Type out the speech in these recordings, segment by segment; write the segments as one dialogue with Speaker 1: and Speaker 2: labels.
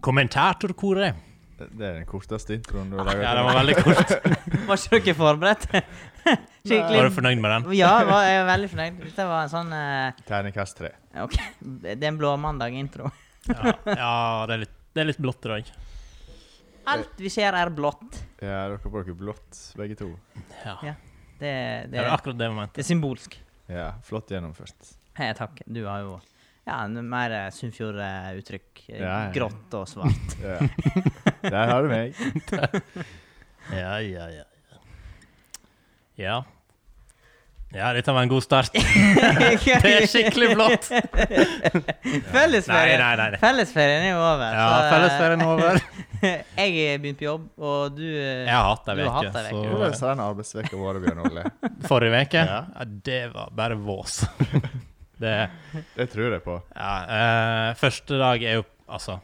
Speaker 1: Kommentatorkoret.
Speaker 2: Det er den korteste introen du har laget.
Speaker 1: Ah, Ja, den var veldig kort.
Speaker 3: Var ikke dere forberedt?
Speaker 1: Var du
Speaker 3: Skikkelig.
Speaker 1: fornøyd med den?
Speaker 3: Ja, var, jeg er veldig fornøyd. Dette var en sånn eh,
Speaker 2: Terningkast tre.
Speaker 3: OK, det er en blåmandag-intro.
Speaker 1: Ja, ja det, er litt, det er litt blått i dag.
Speaker 3: Alt vi ser, er blått.
Speaker 2: Ja, dere bruker blått, begge to.
Speaker 1: Ja.
Speaker 3: Ja. Det,
Speaker 1: Det
Speaker 3: det,
Speaker 1: er akkurat det momentet.
Speaker 3: det er symbolsk.
Speaker 2: Ja, flott gjennomført.
Speaker 3: Hei, takk. Du har jo ja, en mer eh, Sunnfjord-uttrykk. eh,
Speaker 2: Ja, ja.
Speaker 3: Grått og svart.
Speaker 2: Ja. Der har du meg.
Speaker 1: Ja, ja, ja. Ja. Ja, dette var en god start. Det er skikkelig blått! Nei,
Speaker 3: Fellesferien
Speaker 1: nei, nei.
Speaker 3: Fellesferien er jo over.
Speaker 1: Ja,
Speaker 3: så, eh,
Speaker 1: fellesferien er over.
Speaker 3: Jeg er begynt på jobb, og du eh,
Speaker 1: Jeg har hatt ei
Speaker 3: Du har hatt
Speaker 1: uke,
Speaker 3: ei veke.
Speaker 1: så
Speaker 2: Hvordan har den arbeidsveka vår, Bjørn Ole?
Speaker 1: Forrige uke? Ja.
Speaker 2: Ja.
Speaker 1: det var bare vås. det
Speaker 2: Det tror jeg på.
Speaker 1: Ja. eh, første dag er jo Altså,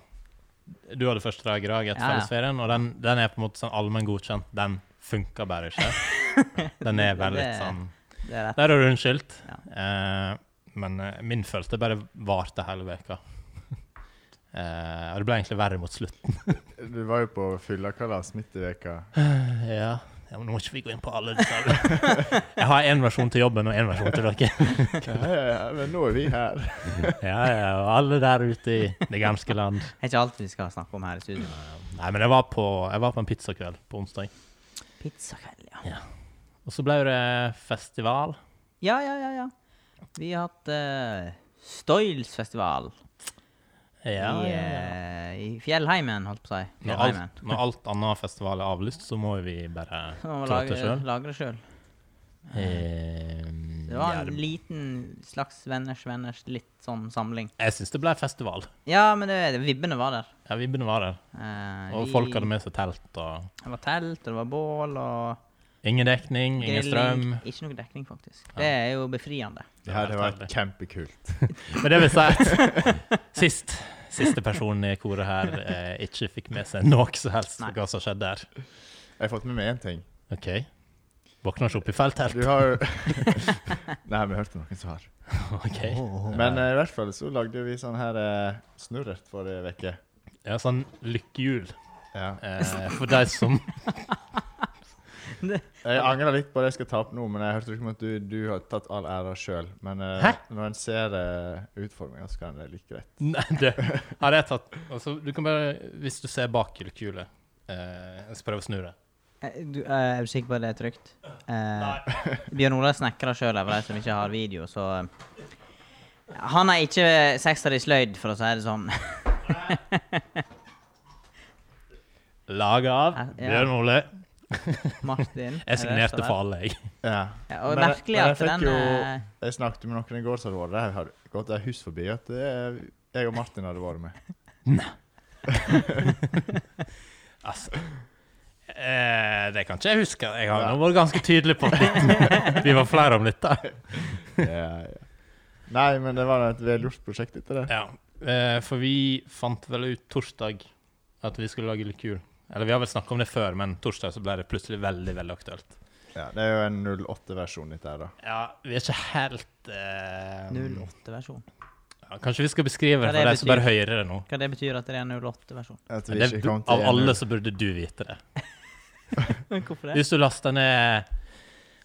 Speaker 1: du hadde første dag i dag etter
Speaker 3: Ja, ja.
Speaker 1: fellesferien, og den, den er på en måte sånn allmenn godkjent. Den funker bare ikke. Den er bare litt
Speaker 3: Det-
Speaker 1: sånn
Speaker 3: Det er rett.
Speaker 1: Der er du unnskyldt. Eh, men eh, min følelse bare varte hele veka. Eh, og det ble egentlig verre mot slutten.
Speaker 2: Du var jo på fyllakalas midt i veka.
Speaker 1: Ja. ja, men Nå må ikke vi gå inn på alle detaljene. Jeg har én versjon til jobben og én versjon til dere.
Speaker 2: Ja, ja, ja, men nå er vi her.
Speaker 1: Ja, ja, og alle der ute i det ganske land.
Speaker 3: Det er ikke alt vi skal snakke om her i studio.
Speaker 1: Mm. Nei, men jeg var på, jeg var på en pizzakveld på onsdag.
Speaker 3: Pizzakveld, ja.
Speaker 1: Og så ble det festival.
Speaker 3: Ja, ja, ja. ja. Vi har hatt uh, Stoilsfestival
Speaker 1: Ja,
Speaker 3: i,
Speaker 1: ja, ja.
Speaker 3: eh, i Fjellheimen, holdt på å si.
Speaker 1: Når
Speaker 3: Fjellheimen.
Speaker 1: alt, når alt annet festival er avlyst, så må vi bare
Speaker 3: Så må vi
Speaker 1: klare det
Speaker 3: lage,
Speaker 1: sjøl.
Speaker 3: lage det sjøl.
Speaker 1: Eh, ehm,
Speaker 3: Det var en liten slags venners venners litt sånn samling.
Speaker 1: Jeg syns det ble festival.
Speaker 3: Ja, men det, det, vibbene var der.
Speaker 1: Ja, Vibbene var der.
Speaker 3: Eh,
Speaker 1: Og
Speaker 3: vi-
Speaker 1: folk hadde med seg telt og
Speaker 3: Det var telt, og det var bål, og
Speaker 1: Ingen dekning, ingen strøm.
Speaker 3: grilling. Ikke noe dekning, faktisk. Det er jo befriende.
Speaker 2: Det her det var kjempekult.
Speaker 1: Men det vil si at sist, siste person i koret her eh, ikke fikk med seg noe som helst
Speaker 3: Nei.
Speaker 1: hva som skjedde der.
Speaker 2: Jeg har fått med meg én ting.
Speaker 1: OK. Våkna ikke opp i felttelt.
Speaker 2: Du har jo Nei, vi hørte noen som har.
Speaker 1: OK.
Speaker 3: Oh,
Speaker 2: Men eh, i hvert fall så lagde vi sånn her eh, snurret forrige veke.
Speaker 1: Ja, sånn lykkehjul.
Speaker 2: Ja.
Speaker 1: Eh, for de som
Speaker 2: Jeg angrer litt på det jeg skal ta opp nå, men jeg hørte ikke om at du, du har tatt all æra sjøl. Men eh,
Speaker 1: Hæ?
Speaker 2: når en ser uh, utforminga, så kan det like greit.
Speaker 1: Nei, du, hadde jeg tatt altså, du kan bare, Hvis du ser bak lykkehjulet eh, Så prøv å snu det.
Speaker 3: Eh, Du, eh, er du sikker på at det er trygt? Eh,
Speaker 1: Nei.
Speaker 3: Bjørn Olav snekrer sjøl, for de som ikke har video, så eh, Han er ikke sekser i sløyd, for å si det sånn.
Speaker 1: Laget av
Speaker 3: Ja.
Speaker 1: Bjørn Ole.
Speaker 3: Martin.
Speaker 1: Jeg signerte for
Speaker 3: faen.
Speaker 1: alle, jeg.
Speaker 2: Ja.
Speaker 3: Og
Speaker 2: Men-
Speaker 3: merkelig
Speaker 2: men jeg
Speaker 3: at
Speaker 2: fikk
Speaker 3: den eh,
Speaker 2: Jeg snakket med noen i går som hadde vært der. Jeg har gått et hus forbi at eh, jeg og Martin hadde vært med.
Speaker 1: Altså. Eh, det kan ikke jeg huske. Jeg har nå vært ganske tydelig på det. Vi var flere om dette.
Speaker 2: Ja, ja. Nei, men det var et velgjort prosjekt etter det.
Speaker 1: Ja. Eh, for vi fant vel ut torsdag at vi skulle lage lykkehjul. Eller vi har vel snakka om det før, men torsdag så ble det plutselig veldig veldig aktuelt.
Speaker 2: Ja, det er jo en 08-versjon dette her, da.
Speaker 1: Ja, vi er ikke helt eh,
Speaker 3: 08-versjon.
Speaker 1: Ja, kanskje vi skal beskrive
Speaker 3: Hva
Speaker 1: det
Speaker 3: det
Speaker 1: for de som
Speaker 3: betyr?
Speaker 1: bare hører det nå.
Speaker 3: Hva det betyr at det er en 08-versjon?
Speaker 2: At vi
Speaker 1: Det,
Speaker 2: ikke
Speaker 1: du,
Speaker 2: kom til
Speaker 1: av alle
Speaker 2: 1-0.
Speaker 1: så burde du vite det.
Speaker 3: Hvorfor det?
Speaker 1: Hvis du laster ned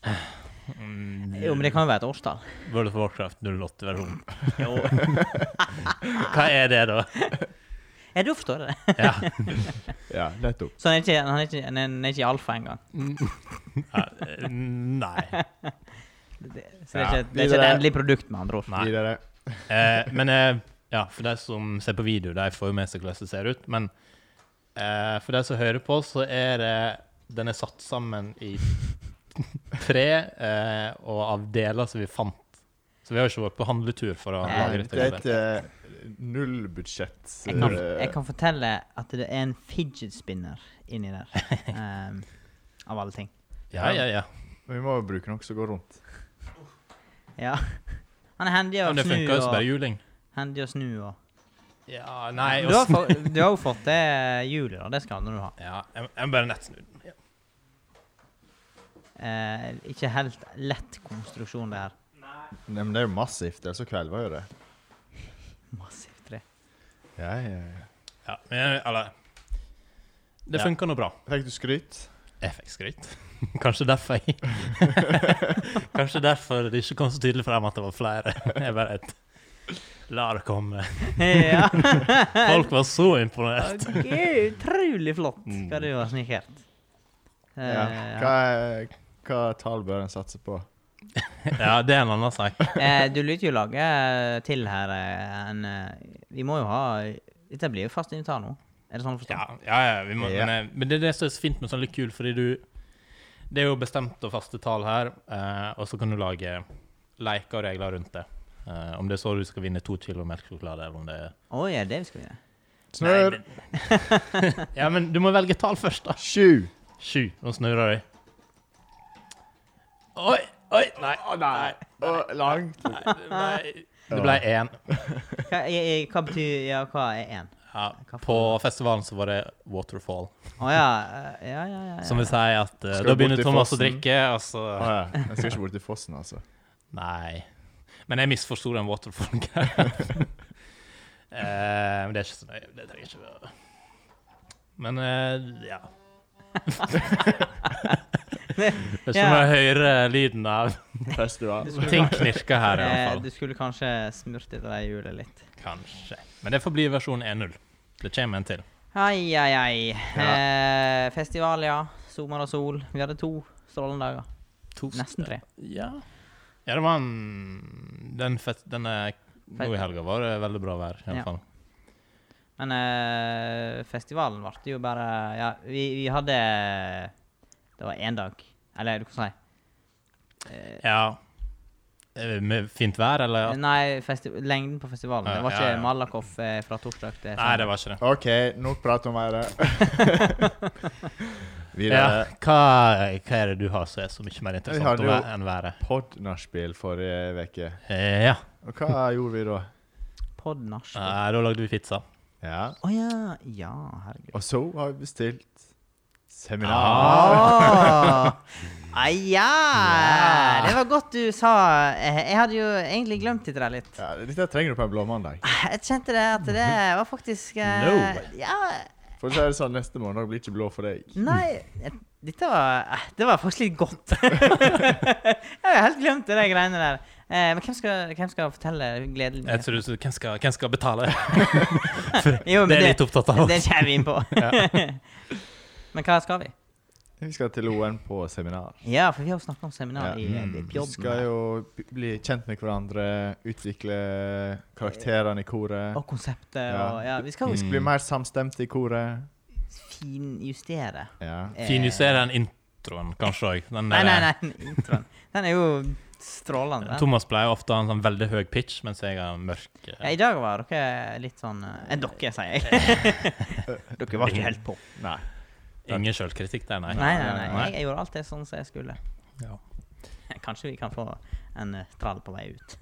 Speaker 1: mm,
Speaker 3: Jo, men det kan jo være et årstall.
Speaker 1: World of Warcraft 08-versjon. Hva er det, da?
Speaker 3: Ja, da forstår jeg det.
Speaker 1: Ja.
Speaker 2: Ja, nettopp.
Speaker 3: Så han er ikke, han er ikke, han er, han er ikke i alfa engang.
Speaker 1: Ja, eh, Nei.
Speaker 3: Så det er
Speaker 2: Ja,
Speaker 3: ikke, det er ikke et
Speaker 2: videre.
Speaker 3: endelig produkt, med andre ord.
Speaker 1: Nei.
Speaker 2: Videre.
Speaker 1: Eh, men eh, ja, for de som ser på video, de får jo med seg hvordan det ser ut. Men eh, for de som hører på, så er det Den er satt sammen i tre, eh, og av deler som vi fant. Så vi har jo ikke vært på handletur for å
Speaker 3: Nei,
Speaker 1: lage
Speaker 2: Nei,
Speaker 1: dette.
Speaker 2: det er
Speaker 1: bildet.
Speaker 2: et eh, nullbudsjett.
Speaker 3: Jeg kan,
Speaker 2: eh,
Speaker 3: jeg kan fortelle at det er en fidget spinner inni der. Ehm, av alle ting.
Speaker 1: Ja, ja, ja.
Speaker 2: Vi må jo bruke noe som går rundt.
Speaker 3: Ja. Han er handy å
Speaker 1: Men det
Speaker 3: snu
Speaker 1: funker jo som bare
Speaker 3: og
Speaker 1: juling.
Speaker 3: Handy å snu og
Speaker 1: Ja, nei
Speaker 3: du,
Speaker 1: og
Speaker 3: har
Speaker 1: snu-
Speaker 3: fått, du har jo fått det hjulet, da. Det skal du ha.
Speaker 1: ja, jeg, jeg må bare nettsnu den. Ja.
Speaker 3: Eh, ikke helt lett konstruksjon, det her.
Speaker 2: Nei, men det er jo massivt. Ellers så kvelver jo det.
Speaker 3: Massivt tre.
Speaker 2: Ja, ja, ja.
Speaker 1: Ja, men, eller Det
Speaker 2: Ja.
Speaker 1: funka nå bra.
Speaker 2: Fikk du skryt?
Speaker 1: Jeg fikk skryt. Kanskje derfor jeg Kanskje derfor det ikke kom så tydelig frem at det var flere. Jeg bare et, La det komme.
Speaker 3: ja.
Speaker 1: Folk var så imponert.
Speaker 3: Ok, Utrolig flott
Speaker 1: Mm.
Speaker 3: hva du har snikert. Eh,
Speaker 2: Ja. Hva,
Speaker 3: ja.
Speaker 2: er- hva tall bør en satse på?
Speaker 1: Ja, det er en annen sak.
Speaker 3: Eh, Du lyder jo laget til her eh, en eh, Vi må jo ha Dette blir jo fast invitar nå. Er det sånn å forstå?
Speaker 1: Ja, ja, ja, vi må,
Speaker 2: Ja.
Speaker 1: Men, eh, men det er det som er så fint med sånn litt kul, fordi du Det er jo bestemt og faste tall her, eh, og så kan du lage leker og regler rundt det. Eh, om det er så du skal vinne to kilo melkesjokolade, eller om det er
Speaker 3: Å ja, det vi skal gjøre.
Speaker 2: Snør!
Speaker 1: Ja, men du må velge tall først, da.
Speaker 2: Sju!
Speaker 1: Sju. Nå snurrer jeg. Oi! Oi! Nei.
Speaker 2: Å, nei. Å, langt.
Speaker 1: Nei, nei. Det ble én.
Speaker 3: Hva, i- i- hva betyr Ja, hva er én?
Speaker 1: Ja, på festivalen så var det Waterfall.
Speaker 3: Å ja. eh, Ja, ja, ja.
Speaker 1: Som vil si at eh,
Speaker 2: Skal
Speaker 1: da
Speaker 2: bort
Speaker 1: begynner
Speaker 2: til
Speaker 1: Thomas å
Speaker 2: fossen.
Speaker 1: drikke, og så
Speaker 2: Å, ja. Jeg skal ikke bort i fossen, altså.
Speaker 1: Nei. Men jeg misforsto den Waterfall-greia. Eh, Men det er ikke så nøye. Det trenger ikke være Men eh, ja. Det er ikke om jeg hører lyden av
Speaker 2: Festival.
Speaker 1: Ting knirker her, i
Speaker 3: Eh,
Speaker 1: hvert fall.
Speaker 3: Du skulle kanskje smurt etter det hjulet litt.
Speaker 1: Kanskje. Men det får bli versjon 1.0. Det kommer en til.
Speaker 3: Ai, ai, ai. Eh, festival, ja. Sommer og sol. Vi hadde to strålende dager. Nesten tre.
Speaker 1: Ja. ja, det var en Den fest... Denne nå i helga var det veldig bra vær, i
Speaker 3: Ja.
Speaker 1: alle fall.
Speaker 3: Men eh, festivalen varte jo bare Ja, vi, vi hadde Det var én dag. Eller hva skal jeg si?
Speaker 1: Ja. Eh, Med fint vær, eller?
Speaker 3: Nei, festi lengden på festivalen.
Speaker 1: Ja,
Speaker 3: Det var
Speaker 1: ja,
Speaker 3: ikke
Speaker 1: ja.
Speaker 3: Malakoff eh, fra torsdag til
Speaker 1: Nei, det var ikke det.
Speaker 2: OK, nok prat om været.
Speaker 1: Ja,
Speaker 2: Videre.
Speaker 1: hva, hva er det du har som er så mye mer
Speaker 2: har
Speaker 1: interessant å
Speaker 2: jo-
Speaker 1: være enn været?
Speaker 2: Podnachspiel forrige uke.
Speaker 1: Eh, Ja,
Speaker 2: Og hva gjorde vi da?
Speaker 3: Podnach. Å
Speaker 1: Eh, da lagde vi pizza.
Speaker 2: Ja.
Speaker 3: ja. Ja, herregud.
Speaker 2: Og så har vi bestilt seminar.
Speaker 3: Ah, ja. Det var godt du sa eh, Jeg hadde jo egentlig glemt det der litt.
Speaker 2: Ja, dette trenger du på en blåmandag.
Speaker 3: Jeg kjente det at det
Speaker 1: Mhm.
Speaker 3: var faktisk eh,
Speaker 1: No.
Speaker 3: Ja,
Speaker 2: For å si det sånn, neste måned blir ikke blå for deg.
Speaker 3: nei eh, Dette var eh, Det var faktisk litt godt. jeg har helt glemt det, de greiene der. Eh, men hvem skal, hvem skal fortelle gledelig
Speaker 1: Jeg tror du sa, hvem, skal- hvem skal betale?
Speaker 3: Jo, men
Speaker 1: det er
Speaker 3: det-
Speaker 1: litt opptatt av.
Speaker 3: Det kommer vi inn på. men hva skal vi?
Speaker 2: Vi skal til ON på seminar.
Speaker 3: Ja, for vi har jo snakket om seminar
Speaker 2: Ja.
Speaker 3: i,
Speaker 1: Mm.
Speaker 3: i
Speaker 2: Vi
Speaker 3: Pjodden.
Speaker 2: skal jo b- bli kjent med hverandre, utvikle karakterene i koret.
Speaker 3: Og konseptet
Speaker 2: Ja.
Speaker 3: og Ja, vi skal
Speaker 2: Vi
Speaker 3: jo
Speaker 2: skal
Speaker 1: Mm.
Speaker 2: bli mer samstemte i koret.
Speaker 3: finjustere.
Speaker 2: Ja.
Speaker 3: eh,
Speaker 1: Finjustere den introen, kanskje òg.
Speaker 3: Nei, nei, sånn, nei. Introen. Den er jo strålende. den.
Speaker 1: Thomas pleier ofte å ha en sånn veldig høy pitch, mens jeg har en mørk eh,
Speaker 3: Ja, I dag var dere litt sånn eh, Dere, sier jeg. dere var ikke helt på.
Speaker 2: Nei.
Speaker 1: Ingen sjølkritikk der, nei.
Speaker 3: Nei, nei, nei.
Speaker 1: Nei.
Speaker 3: Jeg, jeg gjorde alt det sånn som jeg skulle.
Speaker 1: Ja.
Speaker 3: Kanskje vi kan få en eh, trall på vei ut.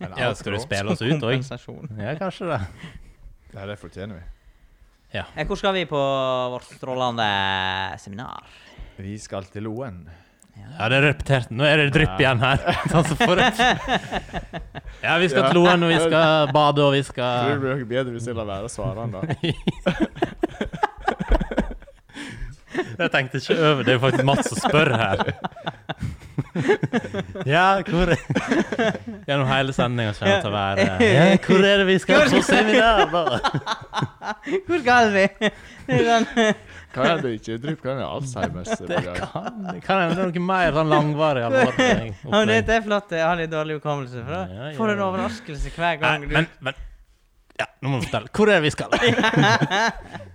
Speaker 2: En
Speaker 1: Ja, skal du
Speaker 2: outro.
Speaker 1: spille oss ut òg?
Speaker 3: Kompensasjon.
Speaker 1: Ja, kanskje det.
Speaker 2: Ja, det fortjener vi.
Speaker 3: Eh, Hvor skal vi på vårt strålende seminar?
Speaker 2: Vi skal til Loen.
Speaker 1: Ja, det er repetert. Nå er det drypp igjen her. Sånn som forut. Ja, vi skal til Loen, og vi skal bade, og vi
Speaker 2: Tror du det
Speaker 1: skal
Speaker 2: blir noe bedre hvis jeg lar være å svare han, da?
Speaker 1: Jeg tenkte ikke over det. er jo faktisk Mats som spør her. Ja, hvor Gjennom hele sendinga kommer det til å være ja, Hvor er det vi skal på seminar? da?
Speaker 3: Hvor skal vi? Det er sånn,
Speaker 2: Kan jeg det ikke? Drypp kan jeg Alzheimers.
Speaker 1: Det kan det kan hende det er noe mer sånn langvarig alvorlig
Speaker 3: Ja, men
Speaker 1: opplegg.
Speaker 3: Dette er flott. Jeg har litt dårlig hukommelse. For
Speaker 1: Ja,
Speaker 3: da
Speaker 1: ja,
Speaker 3: får du en
Speaker 1: ja.
Speaker 3: overraskelse hver
Speaker 1: Nei,
Speaker 3: gang. du-
Speaker 1: men, men Ja, nå må du fortelle. Hvor er det vi skal?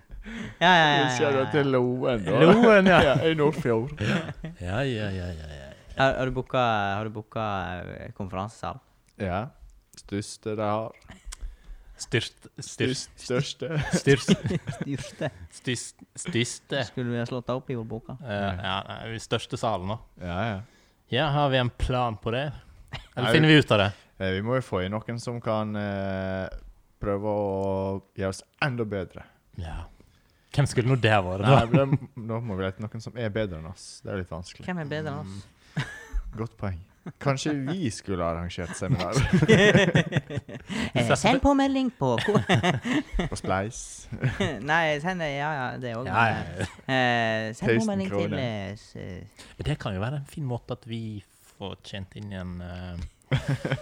Speaker 3: Ja, ja,
Speaker 2: Vi
Speaker 3: ja,
Speaker 2: skal
Speaker 3: ja,
Speaker 2: da
Speaker 3: ja.
Speaker 2: til Loen, da.
Speaker 1: Loen, ja.
Speaker 2: ja. I Nordfjord.
Speaker 1: Ja, ja, ja, ja, ja.
Speaker 3: Har har du booka- har du booka eh, konferansesal?
Speaker 2: Ja. Største de har.
Speaker 1: Styrst Styrst
Speaker 2: Største.
Speaker 1: Styrst
Speaker 3: Styrte.
Speaker 1: Styrst Styrste
Speaker 3: Skulle vi ha slått det opp i ordboka?
Speaker 1: Eh, ja, nei, i største salen nå.
Speaker 2: Ja, ja.
Speaker 1: Ja, har vi en plan på det? Eller
Speaker 2: Nei,
Speaker 1: finner vi ut av det?
Speaker 2: Eh, Vi må jo få inn noen som kan eh, prøve å gjøre oss enda bedre.
Speaker 1: Ja. Hvem skulle nå det vært?
Speaker 2: Nei,
Speaker 1: da?
Speaker 2: men det, Nå må vi lete noen som er bedre enn oss. Det er litt vanskelig.
Speaker 3: Hvem er bedre enn oss?
Speaker 2: Godt poeng. Kanskje vi skulle ha arrangert seminar.
Speaker 3: jeg Eh, Send påmelding på ko-
Speaker 2: Og Spleis.
Speaker 3: Nei, send det. Ja, ja, det òg.
Speaker 1: Ja, ja, ja.
Speaker 3: Eh, send
Speaker 2: 1000
Speaker 3: påmelding til
Speaker 2: kroner.
Speaker 3: eh, s- eh,
Speaker 1: Det kan jo være en fin måte at vi får tjent inn igjen eh,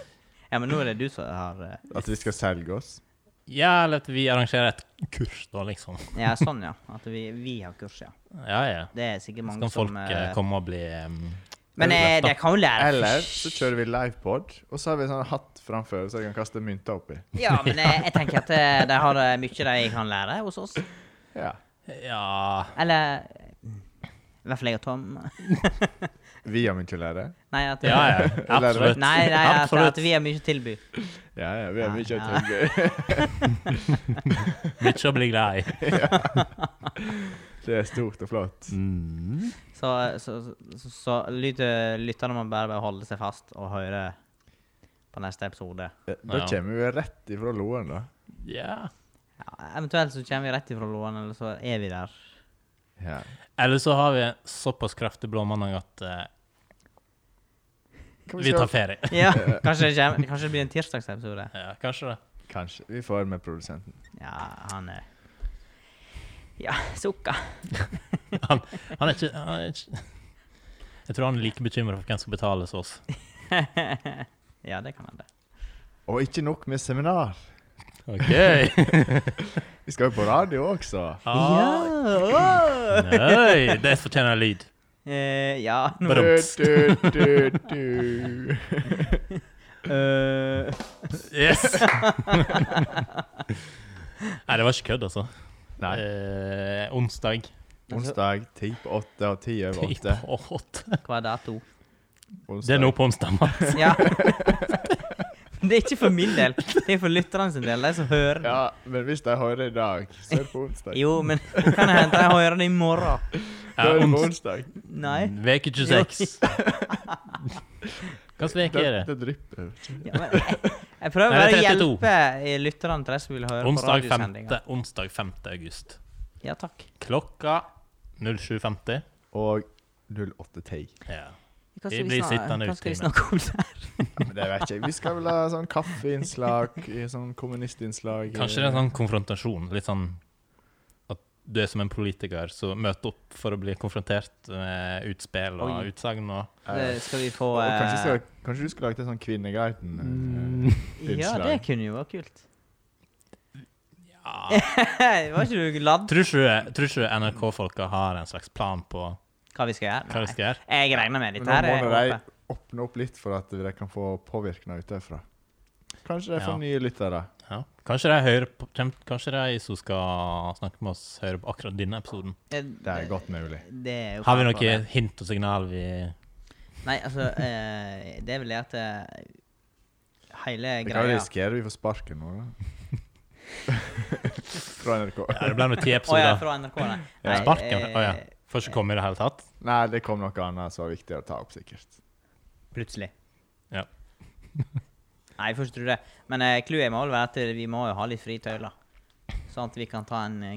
Speaker 3: Ja, men nå er det du som har eh,
Speaker 2: At vi skal selge oss.
Speaker 1: Ja, eller at vi arrangerer et kurs, da, liksom.
Speaker 3: Ja, sånn, ja. At vi, vi har kurs, ja.
Speaker 1: Ja, ja.
Speaker 3: Det er sikkert
Speaker 1: Så
Speaker 3: mange
Speaker 1: kan folk
Speaker 3: som eh,
Speaker 1: eh, komme og bli em,
Speaker 3: Men eh,
Speaker 1: Eller-
Speaker 3: de kan jo lære
Speaker 2: Eller så kjører vi livepod, og så har vi sånn hatt framfor så jeg kan kaste mynter oppi.
Speaker 3: Ja, men eh, jeg tenker at eh, de har eh, mye de kan lære hos oss.
Speaker 2: Ja.
Speaker 1: Ja
Speaker 3: Eller eh, I hvert fall jeg og Tom.
Speaker 2: Vi har mye å lære.
Speaker 3: Nei, at,
Speaker 1: Ja, ja. Absolutt.
Speaker 3: Nei, nei at,
Speaker 1: Absolutt.
Speaker 3: at vi har mye å tilby.
Speaker 2: Ja, ja, vi har mye å
Speaker 3: Ja,
Speaker 2: tenke.
Speaker 1: Mye å bli glad i.
Speaker 2: Det er stort og flott.
Speaker 3: Så, så, så, så lyt, eh, lytterne må bare bare holde seg fast og høre på neste episode.
Speaker 2: Eh, Da kommer vi rett ifra Loen, da.
Speaker 1: Ja.
Speaker 3: Ja, eventuelt så kommer vi rett ifra lån, eller så er vi der.
Speaker 2: Ja.
Speaker 1: Eller så har vi såpass kraftig blåmandag at eh,
Speaker 2: Hva
Speaker 1: vi
Speaker 2: skal-
Speaker 1: tar ferie.
Speaker 3: Ja, kanskje det, kommer, kanskje det blir en tirsdagsepisode.
Speaker 1: Ja, kanskje det.
Speaker 2: Kanskje. Vi får med produsenten.
Speaker 3: Ja, han er Ja, sukka.
Speaker 1: Han, han er ikke, han er ikke Jeg tror han er like bekymra for hvem som betales oss.
Speaker 3: ja, det kan hende.
Speaker 2: Og ikke nok med seminar.
Speaker 1: OK!
Speaker 2: Vi skal jo på radio også.
Speaker 1: Ah,
Speaker 3: Ja!
Speaker 1: Nei, det fortjener lyd.
Speaker 3: Eh, ja, nå
Speaker 1: Badum.
Speaker 2: Du, du, du, du.
Speaker 3: Eh,
Speaker 1: Yes! Nei, det var ikke kødd, altså.
Speaker 2: Nei.
Speaker 1: Eh, onsdag
Speaker 2: Onsdag ti på åtte og ti over
Speaker 1: ti
Speaker 2: åtte.
Speaker 1: på Eh, åtte.
Speaker 3: Hva er dato?
Speaker 1: Det er nå på onsdag. mann.
Speaker 3: Ja. Det er ikke for min del, det er for lytterne sin del, de som hører. det.
Speaker 2: Ja, men hvis de hører i dag, så er det på onsdag.
Speaker 3: Jo, men kan det hende de hører det i morgen?
Speaker 2: Da er
Speaker 1: Ja,
Speaker 2: det på
Speaker 1: ons-
Speaker 2: onsdag.
Speaker 3: Nei.
Speaker 1: Veke 26. Hvilken uke er det?
Speaker 2: Det drypper.
Speaker 3: Ja, men jeg, jeg prøver
Speaker 1: Nei,
Speaker 3: bare å
Speaker 1: det er 32.
Speaker 3: hjelpe eh, lytterne til de som vil høre på
Speaker 1: Onsdag 5.
Speaker 3: radiosendinga.
Speaker 1: Onsdag 5. august.
Speaker 3: Ja, takk.
Speaker 1: Klokka 07.50.
Speaker 2: Og 08.10.
Speaker 1: Ja.
Speaker 3: Hva
Speaker 1: Vi blir
Speaker 3: snakke-
Speaker 1: sittende
Speaker 3: hva skal
Speaker 1: ute
Speaker 3: vi
Speaker 1: i
Speaker 3: snakke om der?
Speaker 2: Ja, men det vet jeg ikke. Vi skal vel ha sånn kaffeinnslag, i sånn kommunistinnslag. eh,
Speaker 1: Kanskje det er en sånn konfrontasjon. Litt sånn at du er som en politiker som møter opp for å bli konfrontert med utspill
Speaker 3: Oi.
Speaker 1: og utsagn og
Speaker 2: Eh,
Speaker 3: Det skal vi få
Speaker 2: og kanskje,
Speaker 3: eh,
Speaker 2: skal, kanskje du skulle lagt en sånn Kvinneguiden?
Speaker 1: Mm.
Speaker 2: eh,
Speaker 3: Ja,
Speaker 2: innslag.
Speaker 3: det kunne jo vært kult.
Speaker 1: ja.
Speaker 3: Var ikke du glad?
Speaker 1: Tror ikke du- tror ikke du NRK-folka har en slags plan på
Speaker 3: Hva vi skal gjøre?
Speaker 1: hva de skal gjøre?
Speaker 3: Nei. Jeg regner
Speaker 2: Men
Speaker 3: med dette
Speaker 2: nå
Speaker 3: her. er
Speaker 2: må de
Speaker 3: åpent.
Speaker 2: åpne opp litt for at de kan få påvirkning utenfra. Kanskje de får
Speaker 1: Ja.
Speaker 2: nye lyttere.
Speaker 1: Ja. Kanskje de hører på, kjem- Kanskje de som skal snakke med oss, hører på akkurat denne episoden.
Speaker 2: Det er godt mulig.
Speaker 3: Eh, Det er jo
Speaker 1: Har vi
Speaker 3: klart for
Speaker 1: noen hint og signal vi
Speaker 3: det. Nei, altså, eh, det er vel det at eh, hele
Speaker 2: Vi kan
Speaker 3: greia
Speaker 2: risikere vi får sparken nå, da. Fra NRK.
Speaker 1: Ja, det ble nå ti
Speaker 3: Å ja,
Speaker 1: episoder.
Speaker 3: fra NRK, nei.
Speaker 2: Ja.
Speaker 3: Nei,
Speaker 1: Sparken?
Speaker 3: eh,
Speaker 1: Å ja. Får ikke komme i det hele tatt.
Speaker 2: Nei, det kom noe annet som var viktig å ta opp, sikkert.
Speaker 3: Plutselig.
Speaker 1: Ja.
Speaker 3: nei, jeg får ikke tro det. Men eh, clouet må vel være at vi må jo ha litt frie tøyler. Sånn at vi kan ta en eh,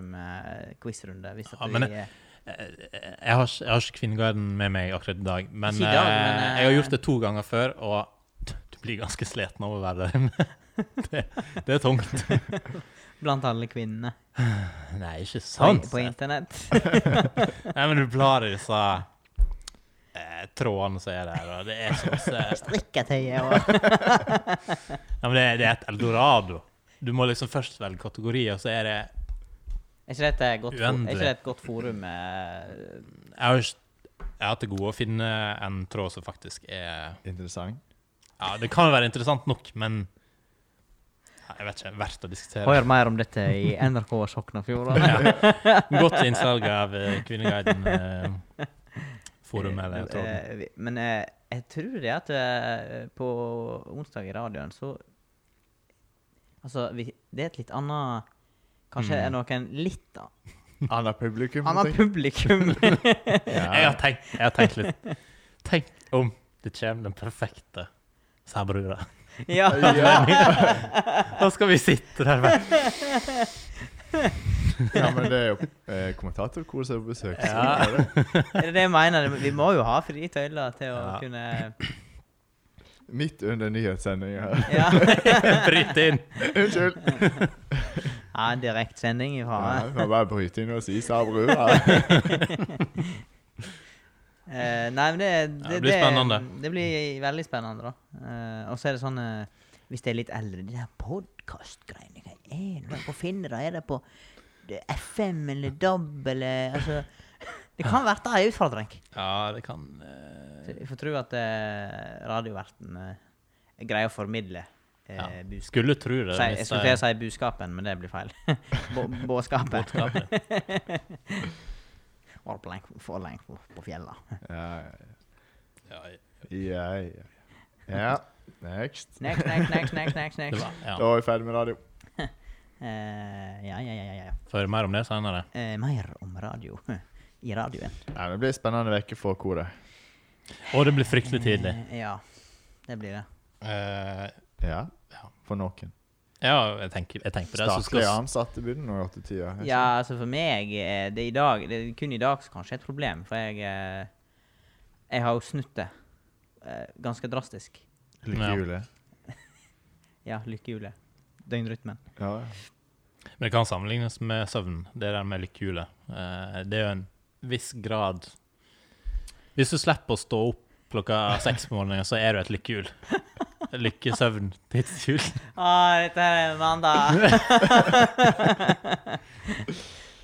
Speaker 3: Kvinneguiden-forum-quizrunde. hvis at
Speaker 1: Ja, men
Speaker 3: vi,
Speaker 1: det-
Speaker 3: eh,
Speaker 1: Eh, Jeg har, ikke- jeg har ikke Kvinneguiden med meg akkurat i dag, men,
Speaker 3: Ikke i dag,
Speaker 1: eh,
Speaker 3: men, eh,
Speaker 1: jeg har gjort det to ganger før, og du blir ganske sliten av å være der inne. Det, det er tungt.
Speaker 3: Blant alle kvinnene
Speaker 1: Nei, ikke
Speaker 3: på,
Speaker 1: sant.
Speaker 3: på internett.
Speaker 1: Nei, men du blar i disse eh, trådene som er der, og det er så masse
Speaker 3: Strikketøyet og
Speaker 1: Nei, men det, er- det er et eldorado. Du må liksom først velge kategori, og så er det
Speaker 3: Er ikke dette et godt, for, er
Speaker 1: Uendelig.
Speaker 3: ikke det et godt forum? eh,
Speaker 1: Jeg har ikke jeg har til gode å finne en tråd som faktisk er
Speaker 2: Interessant.
Speaker 1: Ja, det kan være interessant nok, men Nei, Jeg vet ikke. Verdt å diskutere.
Speaker 3: Hør mer om dette i NRK Soknafjord.
Speaker 1: Godt innsalg av eh, Kvinneguiden-forumet. eller tråden.
Speaker 3: Eh, vi- Men eh, jeg tror det at eh, på onsdag i radioen så Altså, vi, det er et litt annet Kanskje er noen litt a-
Speaker 2: Annet publikum.
Speaker 3: annet
Speaker 2: tenker
Speaker 3: publikum.
Speaker 1: Jeg har tenkt, jeg har tenkt litt Tenk om det kommer den perfekte særbrura.
Speaker 3: ja.
Speaker 2: jeg. ja.
Speaker 1: Da skal vi sitte der med
Speaker 2: ja, men det er jo eh, kommentatorkor som er på besøk. så
Speaker 1: Ja.
Speaker 2: det er det.
Speaker 3: Det er det jeg mener. Vi må jo ha frie tøyler til å
Speaker 1: Ja.
Speaker 3: kunne
Speaker 2: Midt under nyhetssendinga her.
Speaker 3: Ja.
Speaker 1: Bryt inn!
Speaker 2: Unnskyld!
Speaker 3: ja en direktsending
Speaker 2: Ja,
Speaker 3: fra
Speaker 2: jeg kan bare bryte inn og si Sabrua.
Speaker 3: Eh, nei, men det,
Speaker 1: Ja, det blir spennende.
Speaker 3: Det blir veldig spennende, da. Eh, og så er det sånn eh, Hvis det er litt eldre De der podkastgreiene, hva er det på Finn? da? Er det på det er FM eller DAB eller Altså Det kan verte ei utfordring.
Speaker 1: Ja, det kan eh,
Speaker 3: Så Jeg får tro at eh, radioverten eh, greier å formidle eh,
Speaker 1: Ja.
Speaker 3: budskap.
Speaker 1: Skulle tro det. eh, hvis
Speaker 3: Si, jeg skulle til
Speaker 1: det-
Speaker 3: å si budskapen, men det blir feil. Bå- Båtskapet.
Speaker 1: Båtskapet.
Speaker 3: Var blank- for lenk på- på fjellet.
Speaker 2: Ja,
Speaker 1: Ja, ja.
Speaker 2: ja, ja. ja. Next.
Speaker 3: Next, next, next, next, next.
Speaker 1: Det
Speaker 3: next.
Speaker 1: var,
Speaker 2: Da
Speaker 1: ja.
Speaker 2: er vi ferdig med radio.
Speaker 3: Eh, ja, ja, ja, ja, ja.
Speaker 1: For mer om det senere.
Speaker 3: Eh, mer om radio i radioen.
Speaker 2: Nei, det blir en spennende uke for koret.
Speaker 1: Og det blir fryktelig tidlig.
Speaker 3: Eh, ja, det blir det.
Speaker 1: Eh,
Speaker 2: Ja.
Speaker 1: Ja.
Speaker 2: For noen.
Speaker 1: ja, jeg tenker, jeg tenker på det. Så skal,
Speaker 2: Statlig ansatte begynner nå i åttetida. ikke sant?
Speaker 3: Ja, altså for meg er det i dag Det er kun i dag som kanskje er et problem, for jeg eh, Jeg har jo snutt det eh, ganske drastisk.
Speaker 2: Lykke
Speaker 1: Ja.
Speaker 2: jul. ja.
Speaker 3: Ja, lykkehjulet. Døgnrytmen.
Speaker 2: Ja,
Speaker 1: men det kan sammenlignes med søvn, det der med lykkehjulet. Eh, det er jo en viss grad Hvis du slipper å stå opp klokka seks på morgenen, så er du et lykkehjul. Lykkesøvn, tidshjul.
Speaker 3: Ah, dette her er en mandag!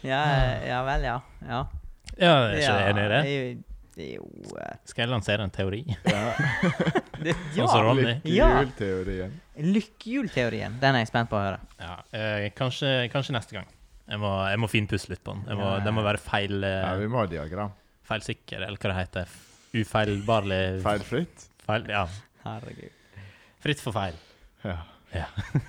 Speaker 3: ja, eh, ja vel, ja. ja.
Speaker 1: Ja, jeg er ikke enig i det.
Speaker 3: det? Jo, eh,
Speaker 1: Skal jeg lansere en teori?
Speaker 2: ja.
Speaker 3: det,
Speaker 1: Sånn som
Speaker 3: ja.
Speaker 1: Ronny.
Speaker 2: Lykke
Speaker 3: Ja.
Speaker 2: jul-teorien.
Speaker 3: Lykkehjulteorien. Den er jeg spent på å høre.
Speaker 1: Ja, eh, kanskje, kanskje neste gang. Jeg må, jeg må finpusse litt på den. Jeg må,
Speaker 3: Ja.
Speaker 1: Den må være feil, eh,
Speaker 2: Ja, vi må ha diagram.
Speaker 1: feilsikker, eller hva det heter. Ufeilbarlig
Speaker 2: Feilfritt.
Speaker 1: feil. Ja.
Speaker 3: Herregud.
Speaker 1: Fritt for feil.
Speaker 2: Ja.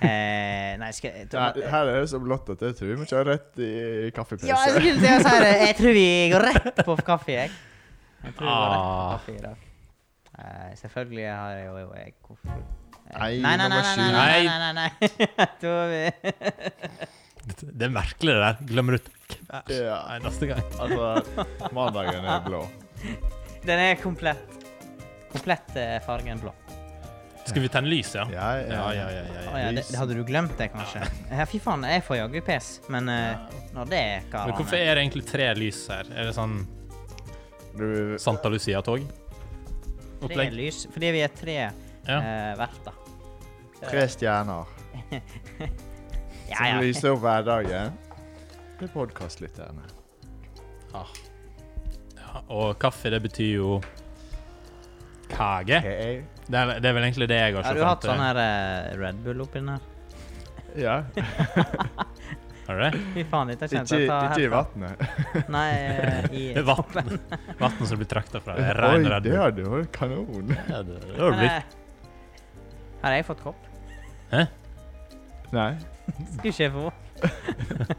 Speaker 3: Eh, nei, skal jeg
Speaker 2: Her, her er det så blått at jeg tror vi kjører rett i kaffepause.
Speaker 3: Ja, jeg skulle til å si det. Jeg tror vi går rett på kaffe, jeg. Jeg tror vi går rett på
Speaker 1: Ah.
Speaker 3: kaffe i dag. Eh, selvfølgelig har jeg jo jo, jeg hvorfor? Eh,
Speaker 2: Nei,
Speaker 3: nei, nei, nei,
Speaker 2: nummer
Speaker 3: nei,
Speaker 2: sju.
Speaker 3: nei, nei, nei, nei, nei. Da er vi-
Speaker 1: Det det er merkelig, det der. Glemmer ut hver
Speaker 2: Ja.
Speaker 1: eneste gang.
Speaker 2: Altså, mandagen er blå.
Speaker 3: Den er komplett. Komplett eh, fargen blå.
Speaker 1: Skal vi tenne lys, ja?
Speaker 2: Ja,
Speaker 1: Ja, ja, ja.
Speaker 3: Å
Speaker 1: ja, ja.
Speaker 3: ja, det, det hadde du glemt det, kanskje? Ja, fy faen, jeg får jaggu pes, men eh, når det er
Speaker 1: Men hvorfor
Speaker 3: karene
Speaker 1: er det egentlig tre lys her? Er det sånn
Speaker 2: Du,
Speaker 1: Santa Lucia-tog?
Speaker 3: Tre
Speaker 1: Opplegg?
Speaker 3: lys, fordi vi er tre
Speaker 1: Ja.
Speaker 3: eh, verter.
Speaker 2: tre stjerner
Speaker 3: Ja,
Speaker 2: som
Speaker 3: ja.
Speaker 2: lyser opp hverdagen til podkastlytterne.
Speaker 1: ja. Og kaffe, det betyr jo Kage.
Speaker 2: Hey.
Speaker 1: Det er, det er vel egentlig det jeg har
Speaker 3: Har
Speaker 1: sett
Speaker 3: du
Speaker 1: fram
Speaker 3: hatt
Speaker 1: til.
Speaker 3: sånn her eh, Red Bull oppi den her?
Speaker 2: Ja.
Speaker 1: Har du det?
Speaker 3: Fy faen, dette kjente
Speaker 2: Ikke,
Speaker 3: jeg ta
Speaker 2: ikke i
Speaker 3: helt av.
Speaker 2: vannet.
Speaker 3: Nei, eh, i
Speaker 1: Det er vann. Vann som blir trakta fra. Det er
Speaker 2: Oi,
Speaker 1: Ren Red
Speaker 2: det
Speaker 1: Bull.
Speaker 2: hadde jo vært kanon.
Speaker 1: Ja, det- det har
Speaker 3: Men,
Speaker 1: blitt-
Speaker 3: eh, Her har jeg fått kopp.
Speaker 2: Nei.
Speaker 3: Skulle ikke jeg få.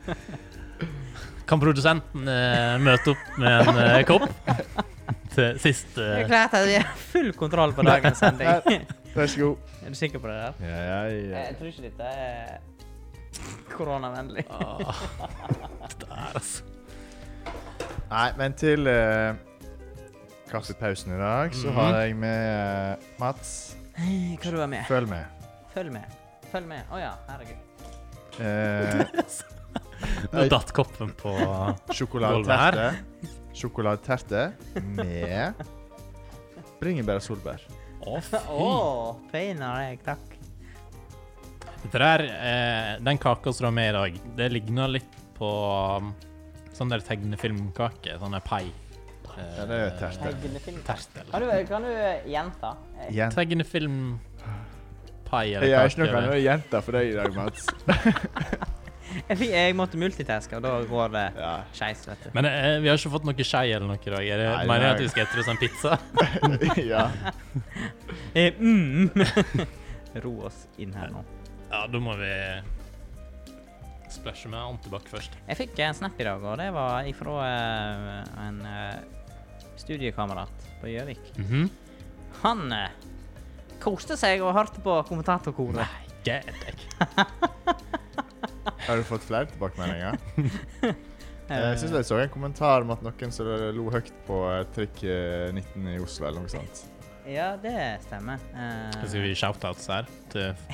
Speaker 1: Kan produsenten eh, møte opp med en eh, kopp til sist?
Speaker 3: Det er
Speaker 1: Eh,
Speaker 3: klart at vi har full kontroll på dagens sending. er
Speaker 2: Vær så god.
Speaker 3: du sikker på det der?
Speaker 2: Ja, ja, ja.
Speaker 3: Jeg tror ikke dette er koronavennlig.
Speaker 1: ah, det er altså.
Speaker 2: Nei, men til eh, kaffepausen i dag så
Speaker 1: Mhm.
Speaker 2: har jeg med eh, Mats.
Speaker 3: Hva du var med?
Speaker 2: Følg med.
Speaker 3: Følg med. Følg med. Å ja, herregud.
Speaker 2: Eh,
Speaker 1: Nå datt koppen på
Speaker 2: sjokoladeterte. Sjokoladeterte med bringebær og solbær.
Speaker 1: Å,
Speaker 3: Å,
Speaker 1: fy.
Speaker 3: feinar jeg, takk.
Speaker 1: Dette der, eh, den kaka som du har med i dag, det ligner litt på um, sånn der tegnefilmkake. Sånn der pai. Eh,
Speaker 2: Ja, det er jo terte.
Speaker 3: Tegnefilm.
Speaker 1: Tertel.
Speaker 3: Kan du, kan du gjenta? Eh,
Speaker 2: Igjen.
Speaker 1: Tegnefilmpai eller
Speaker 2: Jeg er ikke noe
Speaker 1: eller-
Speaker 2: annet jente for deg i dag, Mats.
Speaker 3: Jeg, fikk- jeg måtte multitaske, og da går det
Speaker 2: Ja.
Speaker 3: skeis, vet du.
Speaker 1: Men eh, vi har ikke fått noe skei eller noe i dag. Er det,
Speaker 2: Nei,
Speaker 1: mener jeg at
Speaker 2: nei.
Speaker 1: vi skal etter oss en pizza?
Speaker 2: ja.
Speaker 3: Eh, mm. Ro oss inn her nå.
Speaker 1: Ja, da må vi splæsje med antibac først.
Speaker 3: Jeg fikk en snap i dag, og det var ifra eh, en eh, studiekamerat på Gjøvik.
Speaker 1: Mhm.
Speaker 3: Han eh, koste seg og hørte på kommentatorkoret.
Speaker 1: Nei, get deg.
Speaker 2: Har du fått flere tilbakemeldinger? Jeg syns jeg så en kommentar om at noen som lo høyt på eh, trikk eh, 19 i Oslo, eller noe sånt.
Speaker 3: Ja, det stemmer. Eh,
Speaker 1: Så Skal vi gi shoutouts her? Til
Speaker 3: eh,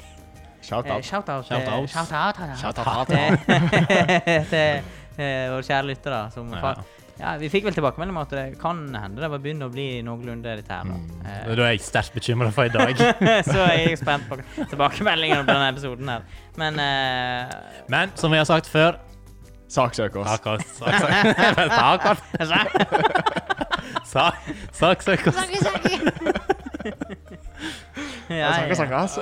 Speaker 2: Shout-out.
Speaker 3: Shoutout. eh,
Speaker 1: Shoutouts.
Speaker 3: Shoutout. ja, ja.
Speaker 1: Shoutout.
Speaker 3: Til til, eh, våre kjære lyttere. Som
Speaker 1: Ja.
Speaker 3: fa- ja, vi fikk vel tilbakemelding om at det kan hende det var begynner å bli noenlunde dette her.
Speaker 1: Mm.
Speaker 3: Da. Eh,
Speaker 1: Da er jeg sterkt bekymra for i dag.
Speaker 3: så er jeg spent på tilbakemeldingene på denne episoden her. Men eh,
Speaker 1: Men som vi har sagt før
Speaker 2: Saksøk oss.
Speaker 1: Saksøk oss. Saksøk oss. Sak- Saksøk oss.
Speaker 3: ja,
Speaker 2: Saksøk,
Speaker 3: ja.
Speaker 2: saksøk oss.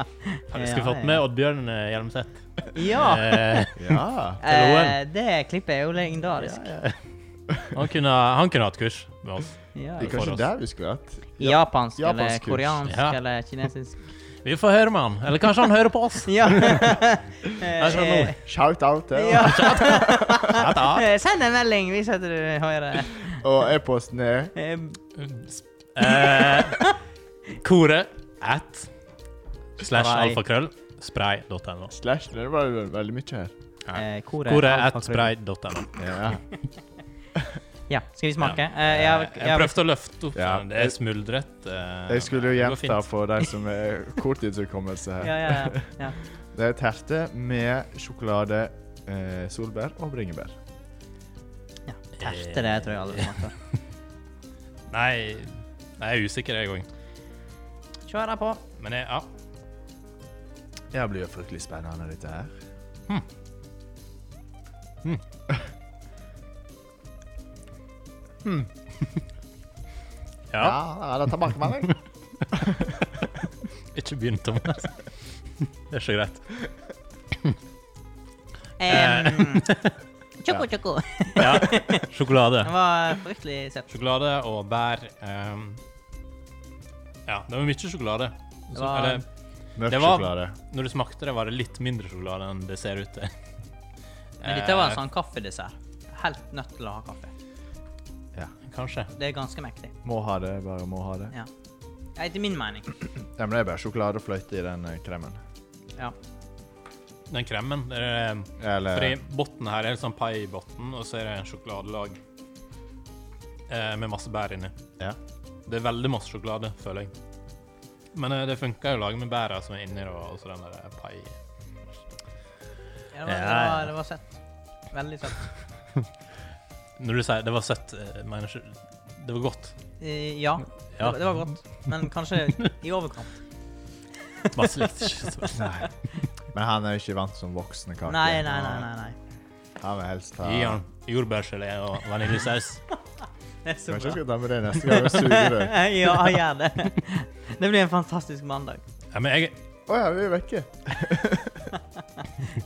Speaker 1: Jeg skulle fått med Oddbjørn eh, Hjelmseth.
Speaker 3: Ja!
Speaker 1: Eh,
Speaker 2: Ja.
Speaker 3: Eh, det klippet er jo legendarisk.
Speaker 1: han, kunne, han kunne hatt kurs med oss.
Speaker 3: Ja,
Speaker 2: Det er
Speaker 1: For
Speaker 2: kanskje
Speaker 1: oss.
Speaker 2: der vi skulle vært.
Speaker 3: Japansk eller
Speaker 2: Japansk kurs.
Speaker 3: koreansk
Speaker 1: Ja.
Speaker 3: eller kinesisk.
Speaker 1: Vi får høre med han. Eller kanskje han hører på oss.
Speaker 3: Ja.
Speaker 1: Jeg skjønner
Speaker 3: Eh,
Speaker 1: nå.
Speaker 2: Shout-out til
Speaker 3: ja.
Speaker 1: Ja, da.
Speaker 3: Eh, Send en melding hvis at du hører.
Speaker 2: Og e-posten er
Speaker 3: Eh,
Speaker 1: Eh, Kore at slash
Speaker 3: Spray.
Speaker 1: alfakrøll spray.no.
Speaker 2: slash. Det var vel veldig mye her.
Speaker 3: eh, Kore,
Speaker 1: Kore
Speaker 3: alfa,
Speaker 1: at
Speaker 3: kore.
Speaker 1: spray.no.
Speaker 2: Ja.
Speaker 3: Ja, skal vi smake? Eh,
Speaker 1: Eh,
Speaker 3: jeg, jeg,
Speaker 1: Jeg prøvde å løfte opp,
Speaker 2: Ja.
Speaker 1: men det er smuldret. eh,
Speaker 2: Jeg skulle jo
Speaker 1: det går
Speaker 2: gjenta
Speaker 1: fint.
Speaker 2: for de som er korttidshukommelse
Speaker 3: ja,
Speaker 2: her.
Speaker 3: ja, ja, ja.
Speaker 2: Det er terte med sjokolade, eh, solbær og bringebær.
Speaker 3: ja. Terte det tror jeg aldri smaker.
Speaker 1: Nei, jeg er usikker, jeg òg.
Speaker 3: Kjør på.
Speaker 1: Men jeg, ja.
Speaker 2: Det blir jo fryktelig spennende, dette her.
Speaker 1: ja.
Speaker 2: Ja, er det tilbakemelding?
Speaker 1: Ikke begynn, Thomas. Det er så greit.
Speaker 3: Um, Choco, choco.
Speaker 1: Ja. Sjokolade.
Speaker 3: Den var fryktelig søt.
Speaker 1: Sjokolade og bær ehm, Ja, det var mye sjokolade. Så,
Speaker 3: Det var-
Speaker 1: eller,
Speaker 2: Mørk
Speaker 1: Det var-
Speaker 2: sjokolade.
Speaker 1: når du smakte det, var det litt mindre sjokolade enn det ser ut til.
Speaker 3: Men dette var en sånn kaffedessert. Helt nødt til å ha kaffe.
Speaker 2: Ja.
Speaker 1: Kanskje.
Speaker 3: Det er ganske mektig.
Speaker 2: Må ha det, bare må ha det.
Speaker 3: Ja. Ja, Etter min mening.
Speaker 2: Ja, men det er bare sjokolade og fløyte i den eh, kremen.
Speaker 3: Ja.
Speaker 1: Den kremen det er,
Speaker 2: Eller
Speaker 1: Fordi bunnen her er litt sånn pai i bunnen, og så er det en sjokoladelag eh, med masse bær inni.
Speaker 2: Ja.
Speaker 1: Det er veldig masse sjokolade, føler jeg. Men eh, det funker jo å lage med bæra som er inni, og også den der eh, pai.
Speaker 3: Ja, Det var,
Speaker 1: Ja, ja.
Speaker 3: det var, det var søtt. Veldig søtt.
Speaker 1: Når du sier det var søtt, eh, mener du ikke Det var godt.
Speaker 3: Eh, ja. Det,
Speaker 1: Ja.
Speaker 3: var, det var godt. Men kanskje i overkant.
Speaker 1: Masse likt. ikke så-
Speaker 2: Nei. Men han er jo ikke vant som voksne kake.
Speaker 3: Nei, nei, nei. nei, nei.
Speaker 2: Han vil helst ha
Speaker 1: Gi han jordbærgelé og vaniljesaus.
Speaker 3: Det er så
Speaker 2: Kanskje jeg
Speaker 3: bra.
Speaker 2: skal ta med det neste gang og suge det.
Speaker 3: ja, gjør det. Det blir en fantastisk mandag.
Speaker 1: Ja, men jeg
Speaker 2: Å ja, vi er vekke.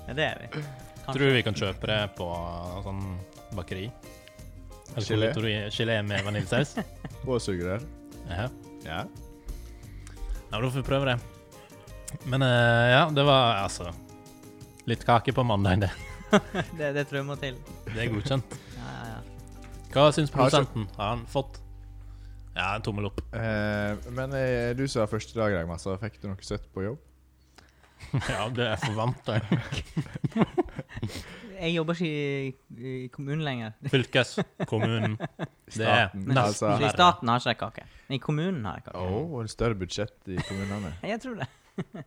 Speaker 3: Ja, Det er vi.
Speaker 1: tror vi kan kjøpe det på sånn bakeri. Eller
Speaker 2: Gelé.
Speaker 1: konditori- Gelé med vaniljesaus.
Speaker 2: Og sugerør.
Speaker 1: Ja.
Speaker 2: Ja.
Speaker 1: Ja, men da får vi prøve det. Men eh, ja, det var altså Litt kake på mandag, det.
Speaker 3: Det, det tror jeg må til.
Speaker 1: Det er godkjent.
Speaker 3: Ja, ja, ja.
Speaker 1: Hva syns
Speaker 2: Har ikke-
Speaker 1: produsenten? Har han fått Ja, en tommel opp.
Speaker 2: Eh, men eh, du som var første dag, Ragnar, så fikk du noe søtt på jobb?
Speaker 1: Ja, det er forventa.
Speaker 3: Jeg jobber ikke i, i kommunen lenger.
Speaker 1: Fylkeskommunen. Det er
Speaker 2: Staten,
Speaker 1: nesten
Speaker 2: altså.
Speaker 3: Så I staten har ikke jeg kake. I kommunen har jeg kake.
Speaker 2: Å, en større budsjett i kommunene.
Speaker 3: Jeg tror det.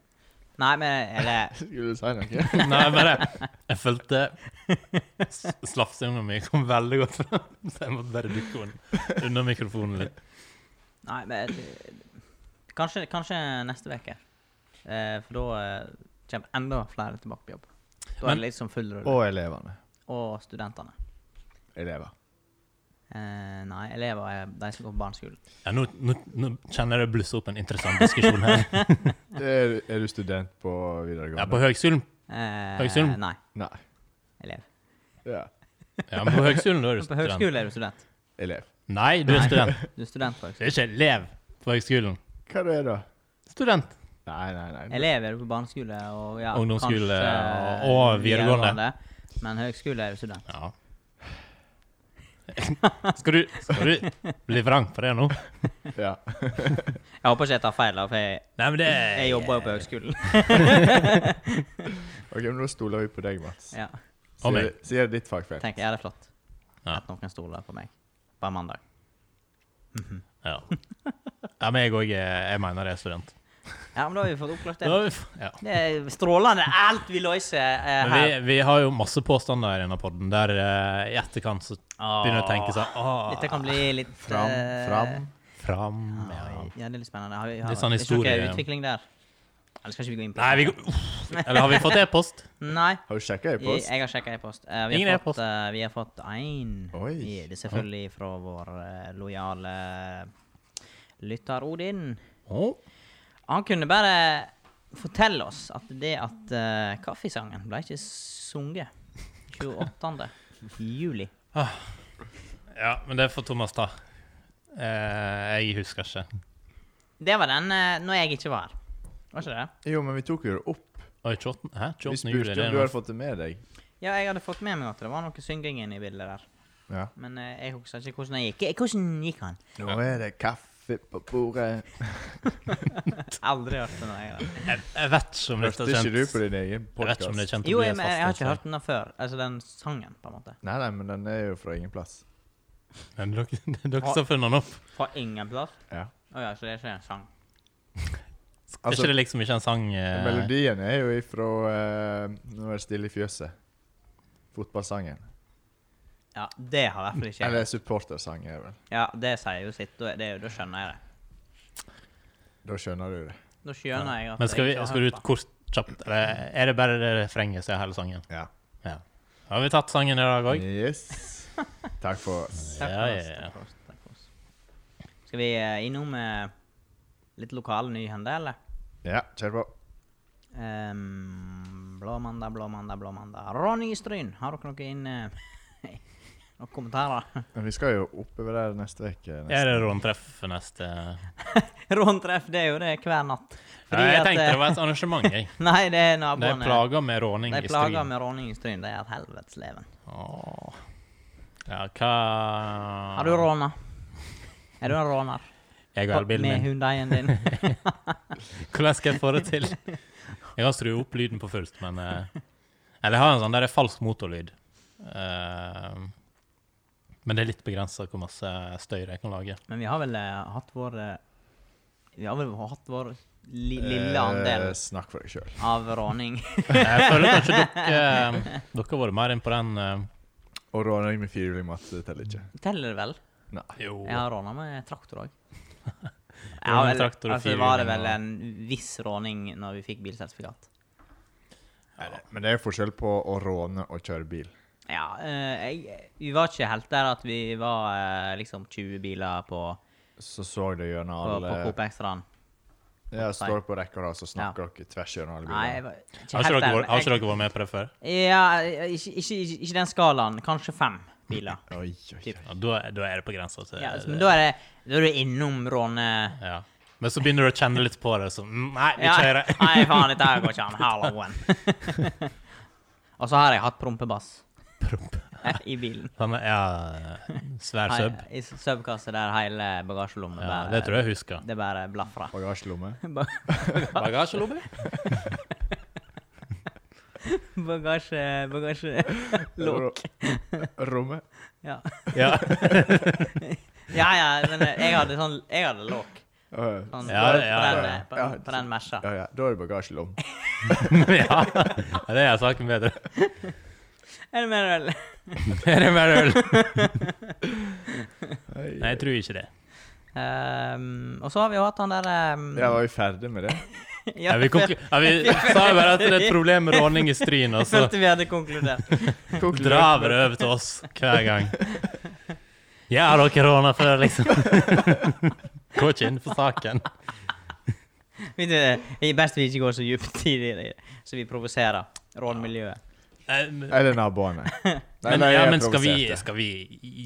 Speaker 3: Nei, men eller
Speaker 2: Skulle du si noe?
Speaker 1: Nei, bare Jeg følte s- slafsinga mi kom veldig godt fram, så jeg måtte bare dukke un- unna mikrofonen litt.
Speaker 3: Nei, men eh, Kanskje, kanskje neste uke. Eh, for da eh, kommer enda flere tilbake på jobb. Da er
Speaker 1: Men-
Speaker 3: det liksom full rulle.
Speaker 2: Og elevene.
Speaker 3: Og studentene.
Speaker 2: Elever.
Speaker 3: Eh, nei, elever er de som går på barneskolen.
Speaker 1: Ja, nå, nå, nå kjenner jeg det blusser opp en interessant diskusjon her.
Speaker 2: Er, er du student på videregående?
Speaker 1: Ja, på høgskolen.
Speaker 3: Eh,
Speaker 1: Høgskolen?
Speaker 3: Nei,
Speaker 2: Nei.
Speaker 3: elev.
Speaker 2: Ja.
Speaker 1: Ja, men på høgskolen da er du
Speaker 3: Men på
Speaker 1: student.
Speaker 3: høgskole er du student.
Speaker 2: Elev.
Speaker 1: Nei, du er student.
Speaker 3: Du er student på
Speaker 1: Du
Speaker 3: høgskole.
Speaker 1: er ikke elev på høgskolen.
Speaker 2: Hva er det da?
Speaker 1: Student.
Speaker 2: Nei, nei, nei.
Speaker 3: Elev er du på barneskole og ja,
Speaker 1: Ungdomsskole
Speaker 3: kanskje eh,
Speaker 1: og- og videregående.
Speaker 3: Men høgskole er du student.
Speaker 1: Ja. Skal du, skal du bli vrang på det nå?
Speaker 2: Ja.
Speaker 3: Jeg håper ikke jeg tar feil, da, for jeg,
Speaker 1: Nei, men det
Speaker 3: jeg jobber jo på høgskolen.
Speaker 2: Ok, men da stoler vi på deg, Mats.
Speaker 3: ja,
Speaker 1: Og meg.
Speaker 2: Sier, sier ditt fagfelt.
Speaker 3: tenker jeg det er flott
Speaker 1: Ja.
Speaker 3: at noen stoler på meg på en mandag.
Speaker 1: Ja. ja meg òg. Jeg mener jeg er student.
Speaker 3: Ja, men da har vi fått oppklart
Speaker 1: Da
Speaker 3: det.
Speaker 1: har vi f- Ja.
Speaker 3: Det er strålende alt vi løser eh,
Speaker 1: Men
Speaker 3: her.
Speaker 1: vi, vi har jo masse påstander i denne podden der eh, i etterkant så begynner jeg å tenke sånn Åh,
Speaker 3: Dette kan bli litt
Speaker 2: Fram,
Speaker 3: eh,
Speaker 2: fram.
Speaker 1: Fram, ja.
Speaker 3: Ja, ja, det er litt spennende. Har vi, har,
Speaker 1: Litt sånn
Speaker 3: er ikke noe
Speaker 1: historie.
Speaker 3: utvikling der? Eller skal ikke vi gå inn på
Speaker 1: Nei, vi går uff. Eller har vi fått e-post?
Speaker 3: Nei.
Speaker 2: Har du sjekka i
Speaker 3: Jeg,
Speaker 2: post?
Speaker 3: jeg har sjekka e-post. Eh, vi,
Speaker 1: Ingen
Speaker 3: har
Speaker 1: e-post.
Speaker 3: fått, eh, vi har fått én.
Speaker 2: Oi.
Speaker 3: I- Det er selvfølgelig fra vår eh, lojale lytter Odin.
Speaker 1: Å,
Speaker 3: Han kunne bare fortelle oss at det at eh, kaffesangen ble ikke sunget 28. juli.
Speaker 1: Ja, men det får Thomas ta. Eh, jeg husker ikke.
Speaker 3: Det var den eh, når jeg ikke var her. Var ikke det?
Speaker 2: Jo, men vi tok jo det opp.
Speaker 1: Oi, 28. Hæ?
Speaker 2: Vi
Speaker 1: 28. juli?
Speaker 2: spurte
Speaker 1: Det
Speaker 2: om
Speaker 1: er
Speaker 2: du hadde
Speaker 1: noe.
Speaker 2: fått det med deg.
Speaker 3: Ja, jeg hadde fått med meg at det var noe synging inne i bildet der.
Speaker 2: Ja.
Speaker 3: Men eh, jeg husker ikke hvordan det gikk. Eh, Hvordan gikk han?
Speaker 2: Nå er det kaffe på bordet.
Speaker 3: Aldri hørt det. når jeg har-
Speaker 1: Jeg, jeg vet ikke om dette
Speaker 2: Hørte
Speaker 1: er
Speaker 2: ikke du
Speaker 1: kjent.
Speaker 2: på din egen
Speaker 1: Jeg vet ikke om det er
Speaker 2: podkast?
Speaker 1: kjent å
Speaker 3: Jo,
Speaker 1: bli
Speaker 3: jeg, men jeg har
Speaker 1: fast
Speaker 3: ikke hørt den der før. Altså den sangen, på en måte.
Speaker 2: Nei, nei, men den er jo fra ingen plass.
Speaker 1: Men dere, det er
Speaker 2: Ah.
Speaker 1: dere som har funnet den opp.
Speaker 3: Fra ingen plass.
Speaker 2: Ja.
Speaker 3: Å ja, så det er ikke en sang.
Speaker 1: Er
Speaker 2: Altså-
Speaker 1: ikke det liksom ikke en sang eh,
Speaker 2: Melodien er jo ifra eh, Nå er det stille i fjøset. Fotballsangen.
Speaker 3: Ja, det har i hvert fall ikke jeg.
Speaker 2: Eller supportersang, er det vel.
Speaker 3: Ja, det sier jo sitt. Da, er det, da skjønner jeg det.
Speaker 2: Da skjønner du det.
Speaker 3: Da skjønner jeg at
Speaker 1: Men skal,
Speaker 3: jeg
Speaker 1: vi,
Speaker 3: ikke har
Speaker 1: skal du
Speaker 3: hørt
Speaker 1: ut
Speaker 3: den.
Speaker 1: kort kjapt? Eller er det bare det refrenget som er hele sangen?
Speaker 2: Ja.
Speaker 1: Ja. Har vi tatt sangen i dag òg?
Speaker 2: Yes. Takk for oss.
Speaker 3: Takk
Speaker 1: Ja,
Speaker 3: for
Speaker 1: ja,
Speaker 3: oss,
Speaker 1: ja.
Speaker 3: takk for oss, takk for oss. Skal vi eh, innom eh, litt lokale nyhender, eller?
Speaker 2: Ja, kjør på.
Speaker 3: Um, blå mandag, blå mandag, blå mandag. Ronny Stryn, har dere noe inn eh, Noen kommentarer?
Speaker 2: Men Vi skal jo oppover der neste uke. nesten.
Speaker 1: Er det råntreff neste
Speaker 3: Råntreff, det er jo det hver natt.
Speaker 1: Nei, Jeg tenkte
Speaker 3: eh,
Speaker 1: det var et arrangement, jeg.
Speaker 3: Nei, det er
Speaker 1: De
Speaker 3: naboene.
Speaker 1: plager med råning
Speaker 3: De
Speaker 1: i
Speaker 3: plager
Speaker 1: Stryn.
Speaker 3: med råning i Stryn. Det er et helvetes leven.
Speaker 1: Åh. Ja, hva
Speaker 3: Har du råna? Er du en råner?
Speaker 1: Ah. Jeg og elbilen
Speaker 3: Med
Speaker 1: min.
Speaker 3: hundeien din?
Speaker 1: Hvordan skal jeg få det til? Jeg har skrudd opp lyden på fullt, men eh, Eller jeg har en sånn der det er falsk motorlyd. Eh, men det er litt begrensa hvor masse eh, støy jeg kan lage.
Speaker 3: Men vi har vel eh, hatt vår eh, Vi har vel hatt vår li lille
Speaker 2: Eh,
Speaker 3: andel
Speaker 2: Snakk for deg sjøl.
Speaker 3: av råning.
Speaker 1: Jeg føler kanskje dere, eh, dere har vært mer inn på den eh,
Speaker 2: Og råning med firehjuling matte teller ikke.
Speaker 3: Teller det vel?
Speaker 2: Nei.
Speaker 1: Jo.
Speaker 3: Jeg har råna med traktor òg.
Speaker 1: Råna med traktor og
Speaker 3: altså, var det
Speaker 1: firehjuling
Speaker 3: vel
Speaker 1: og-
Speaker 3: en viss råning når vi fikk bilsertifikat.
Speaker 2: Men det er jo forskjell på å råne og kjøre bil.
Speaker 3: Ja, eh, jeg, vi var ikke helt der at vi var eh, liksom 20 biler på,
Speaker 2: Så så du gjennom
Speaker 3: på,
Speaker 2: alle
Speaker 3: på Coop Extraen.
Speaker 2: Ja, står på rekke og rad, så snakker dere tvers gjennom alle
Speaker 3: Nei, jeg
Speaker 2: bilene.
Speaker 3: var ikke
Speaker 1: Har ikke,
Speaker 3: helt
Speaker 1: dere,
Speaker 3: der.
Speaker 1: vært- har ikke dere vært med på det før?
Speaker 3: Ja, ikke, ikke, ikke, ikke den skalaen. Kanskje fem biler.
Speaker 2: Oi, oi,
Speaker 3: Typ.
Speaker 2: oi.
Speaker 1: Ja, da, da er eh, det på grensa til
Speaker 3: Ja, altså, men da er, det, da er du innom råne...
Speaker 1: Ja. Men så begynner du å kjenne litt på det. Så, mm, nei, vi
Speaker 3: Ja,
Speaker 1: kjører.
Speaker 3: Nei, faen, dette her går ikke an. Halloen. Og så har jeg hatt prompebass
Speaker 1: Promp.
Speaker 3: i bilen.
Speaker 1: Sånn, ja, svær
Speaker 3: Hei,
Speaker 1: sub.
Speaker 3: I subkasse der hele bagasjelommen
Speaker 1: Ja,
Speaker 3: bare-
Speaker 1: det tror jeg jeg husker.
Speaker 3: Det bare blafra.
Speaker 2: Bagasjelomme.
Speaker 1: Bagasjelomme?
Speaker 3: Bagasje... Bagasje...
Speaker 2: Ro- Romme.
Speaker 3: Ja.
Speaker 1: Ja.
Speaker 3: ja, ja, men jeg hadde sånn Jeg hadde låk.
Speaker 2: Ja,
Speaker 3: Sånn,
Speaker 1: Ja,
Speaker 3: på,
Speaker 1: ja,
Speaker 3: den,
Speaker 2: ja.
Speaker 3: eh, På,
Speaker 2: Ja,
Speaker 3: på den mesja.
Speaker 2: ja, da er det bagasjelom.
Speaker 1: ja. Det er saken bedre.
Speaker 3: Er det mer øl?
Speaker 1: Er det mer øl? Nei,
Speaker 2: Nei,
Speaker 1: jeg tror ikke det.
Speaker 3: Ehm, og så har vi jo hatt han der ehm,
Speaker 2: Ja, var vi ferdig med det?
Speaker 1: Ja, vi, konk- ja, vi sa jo bare at det er et problem med råning i Stryn, og så
Speaker 3: Følte vi hadde konkludert.
Speaker 1: drar vi det over til oss hver gang. Ja, dere råna før, liksom. Går ikke inn for saken.
Speaker 3: Vi- det er best vi ikke går så dypt i det, så vi provoserer rånmiljøet.
Speaker 1: Eh,
Speaker 2: Eller naboene. Nei,
Speaker 1: Men,
Speaker 2: nei,
Speaker 1: ja,
Speaker 2: jeg
Speaker 1: men skal, vi,
Speaker 2: provoserte.
Speaker 1: skal vi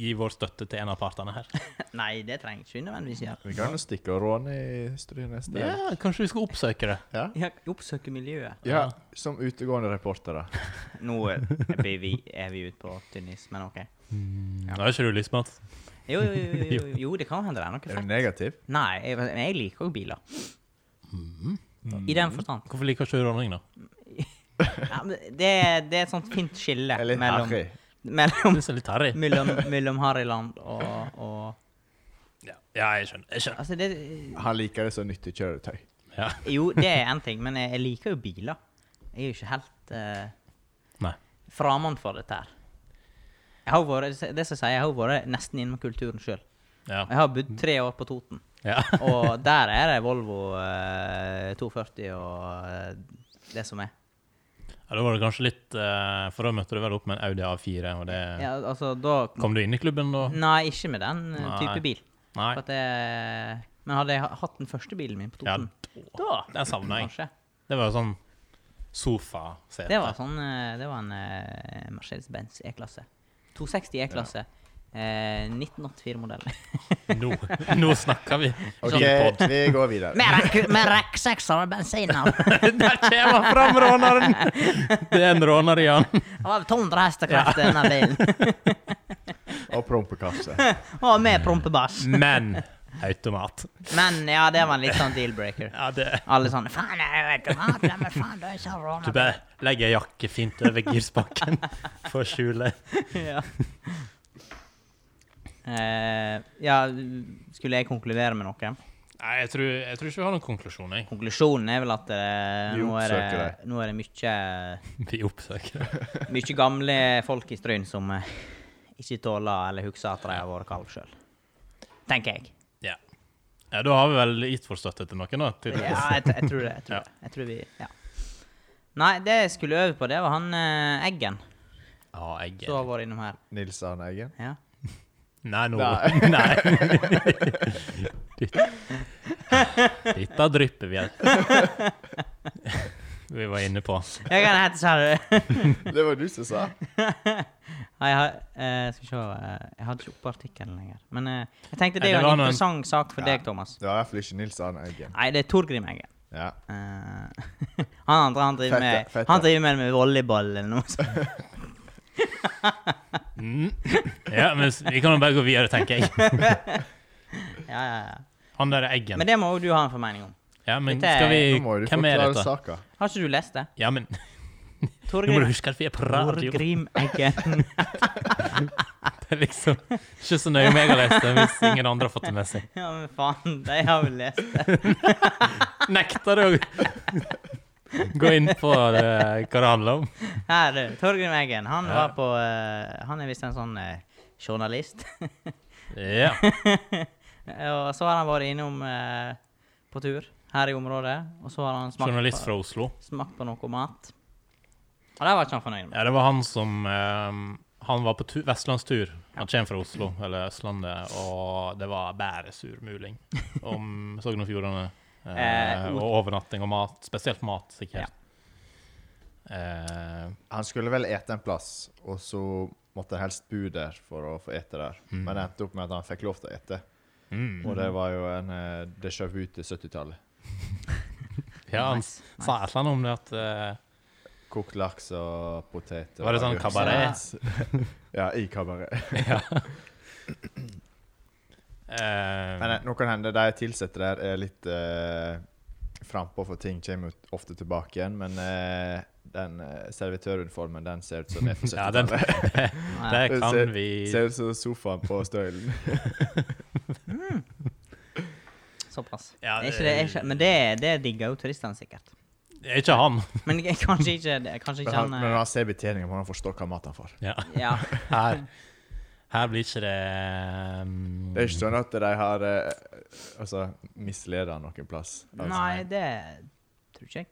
Speaker 1: gi vår støtte til en av partene her?
Speaker 3: Nei, det trenger ikke vi nødvendigvis gjøre.
Speaker 2: Vi kan jo stikke og råne i Stryn neste
Speaker 1: Ja, kanskje vi skal oppsøke det.
Speaker 2: Ja?
Speaker 3: Ja, oppsøke miljøet.
Speaker 2: ja, som utegående reportere.
Speaker 3: Nå er vi, vi- er vi ute på tynnis, men OK.
Speaker 1: Nå har ikke du lyst, Mats?
Speaker 3: Jo, jo, jo, jo, jo, jo det kan hende det er noe
Speaker 2: Er du
Speaker 3: fett.
Speaker 2: negativ?
Speaker 3: Nei, jeg, men jeg liker jo biler. I den forstand.
Speaker 1: Hvorfor liker ikke du råning, da?
Speaker 3: Ja, men det, det er et sånt fint skille
Speaker 2: Er litt
Speaker 3: mellom,
Speaker 2: harry.
Speaker 1: Du
Speaker 3: mellom,
Speaker 1: er så litt harry.
Speaker 3: mellom, mellom Harryland og, og
Speaker 1: Ja. Ja, jeg skjønner. Jeg skjønner.
Speaker 3: Altså, det
Speaker 2: Han liker det som nyttekjøretøy.
Speaker 1: Ja.
Speaker 3: Jo, det er én ting, men jeg, jeg liker jo biler. Jeg er jo ikke helt uh,
Speaker 1: Nei.
Speaker 3: fremmed for dette her. Jeg har jo vært, det som jeg sier, jeg har jo vært nesten innom kulturen sjøl.
Speaker 1: Ja.
Speaker 3: Jeg har bodd tre år på Toten,
Speaker 1: ja.
Speaker 3: og der er det Volvo eh, 240 og eh, det som er.
Speaker 1: Ja, Da var det kanskje litt eh, For da møtte du vel opp med en Audi A4, og det
Speaker 3: Ja, Mm. altså, da
Speaker 1: Kom du inn i klubben da?
Speaker 3: Nei, ikke med den eh,
Speaker 1: Nei.
Speaker 3: type bil.
Speaker 1: Nei.
Speaker 3: For at jeg, men hadde jeg ha- hatt den første bilen min på
Speaker 1: Ja,
Speaker 3: Toten,
Speaker 1: da
Speaker 3: Mm. da
Speaker 1: Den savner jeg.
Speaker 3: kanskje.
Speaker 1: Det var jo sånn sofasete.
Speaker 3: Det var, sånn, eh, det var en eh, Mercedes-Benz E-klasse. 260 E-klasse. Eh, 1984-modell.
Speaker 1: Nå, nå snakker vi
Speaker 2: OK,
Speaker 1: bilpod.
Speaker 2: vi går videre.
Speaker 3: Med rekksekser og bensin. Han
Speaker 1: Der kommer fram råneren! Det er en råner i han.
Speaker 3: var 200 hestekrefter, denne bilen.
Speaker 2: Og prompekasse.
Speaker 3: Og med prompebass.
Speaker 1: Men automat.
Speaker 3: Men ja, det var en litt sånn deal-breaker.
Speaker 1: Ja, det
Speaker 3: Alle sånn Faen, jeg er jo automat, ja, men faen, du er så råna.
Speaker 1: Du bare legger ei jakke fint over girspaken for å skjule.
Speaker 3: ja. Eh, ja, skulle jeg konkludere med noe?
Speaker 1: Nei, jeg tror, jeg tror ikke vi har noen konklusjon, jeg.
Speaker 3: Konklusjonen er vel at eh,
Speaker 2: Vi
Speaker 3: nå, er det,
Speaker 2: oppsøker
Speaker 3: nå er det mye
Speaker 1: Vi oppsøker det.
Speaker 3: Mye gamle folk i Stryn som eh, ikke tåler eller husker at de har vært kalv sjøl. Tenker jeg.
Speaker 1: Ja. ja. Da har vi vel gitt vår støtte til noen, da. tydeligvis.
Speaker 3: Ja, jeg, t- jeg tror det. Jeg tror, det. jeg tror vi ja. Nei, det jeg skulle øve på, det var han eh, Eggen
Speaker 1: Ja, jeg
Speaker 3: som har vært innom her.
Speaker 2: Nils Arne Eggen.
Speaker 3: Ja.
Speaker 1: Nei, nå
Speaker 2: Nei.
Speaker 1: Nei. Dette dette drypper vi her. Vi var inne på
Speaker 3: Jeg kan hete sa du.
Speaker 2: Det var du som sa.
Speaker 3: Nei, Jeg har, eh, skal vi se eh, Jeg hadde ikke oppe artikkelen lenger. Men eh, jeg
Speaker 1: Nei,
Speaker 3: tenkte det
Speaker 1: det
Speaker 3: er jo
Speaker 1: var
Speaker 3: en
Speaker 1: nå en-
Speaker 3: interessant sak for
Speaker 2: Ja.
Speaker 3: deg, Thomas.
Speaker 2: Det var i hvert fall ikke Nils Arne Eggen.
Speaker 3: Nei, det er Torgrim Eggen.
Speaker 2: Ja.
Speaker 3: Eh, han andre han driver, med,
Speaker 2: Fett, fett.
Speaker 3: han driver med, med volleyball eller noe sånt.
Speaker 1: mm. Ja, men s- vi kan jo bare gå videre, tenker jeg.
Speaker 3: Ja, ja, ja.
Speaker 1: Han der er eggen.
Speaker 3: Men det må jo du ha en formening om.
Speaker 1: Ja, men
Speaker 3: dette er-
Speaker 1: skal
Speaker 2: Nå må
Speaker 1: vi
Speaker 2: du
Speaker 1: Hvem er
Speaker 2: forklare
Speaker 1: dette?
Speaker 2: saka.
Speaker 3: Har ikke du lest det?
Speaker 1: Ja, men nå må du
Speaker 3: Torgrim,
Speaker 1: huske at vi er på radio.
Speaker 3: Torgrim Eggen.
Speaker 1: Det er liksom ikke så nøye om jeg har lest det, hvis ingen andre har fått det med seg.
Speaker 3: ja, men faen, de har vel lest det.
Speaker 1: Nekter du å gå inn på det, hva det handler om?
Speaker 3: Her, du. Torgrim Eggen. Han
Speaker 1: Ja.
Speaker 3: var på eh, Han er visst en sånn eh, journalist.
Speaker 1: Ja.
Speaker 3: og så har han vært innom eh, på tur her i området. Og så har han smakt
Speaker 1: Journalist
Speaker 3: på,
Speaker 1: fra Oslo.
Speaker 3: smakt på noe mat. Og det var ikke han fornøyd med.
Speaker 1: Ja, det var han som eh, Han var på tu vestlandstur. Han kommer fra Oslo, eller Østlandet, og det var bare surmuling om Sogn og Fjordane. eh,
Speaker 3: Eh, ot-
Speaker 1: og overnatting og mat. Spesielt mat, sikkert. Eh,
Speaker 2: Han skulle vel ete en plass, og så måtte han helst bo der for å få ete der.
Speaker 1: Mm.
Speaker 2: Men det endte opp med at han fikk lov til å ete,
Speaker 1: mm.
Speaker 2: og det var jo en eh, déjà vu til 70-tallet.
Speaker 1: Ja, han
Speaker 3: Nice,
Speaker 1: sa
Speaker 3: nice.
Speaker 1: et eller annet om det at eh,
Speaker 2: Kokt laks og poteter.
Speaker 1: Var det sånn
Speaker 2: og-
Speaker 1: kabaret?
Speaker 2: ja, i kabaret.
Speaker 1: eh,
Speaker 2: Men eh, nå kan hende de ansatte der er litt eh, frampå, for ting kommer jo ofte tilbake igjen. Men eh, den eh, servitøruniformen, den ser ut som det er på
Speaker 1: Ja, den
Speaker 2: 70-tallet.
Speaker 1: Det
Speaker 2: Se-
Speaker 1: kan vi
Speaker 2: Ser ut som sofaen på Støylen.
Speaker 3: Såpass.
Speaker 1: Ja,
Speaker 3: det er ikke det, er ikke, men det, det digger jo turistene sikkert.
Speaker 1: Det er Ikke han.
Speaker 3: Men jeg- kanskje ikke, det- kanskje
Speaker 2: Men
Speaker 3: ikke
Speaker 2: han,
Speaker 3: han
Speaker 2: men når
Speaker 3: eh,
Speaker 2: han ser betjeningen, må han forstå hva mat han får.
Speaker 1: Ja.
Speaker 3: Ja.
Speaker 1: Her, her blir ikke det um,
Speaker 2: Det er ikke sånn at de har eh, altså, misledet han noen plass. Altså.
Speaker 3: Nei, det tror ikke jeg.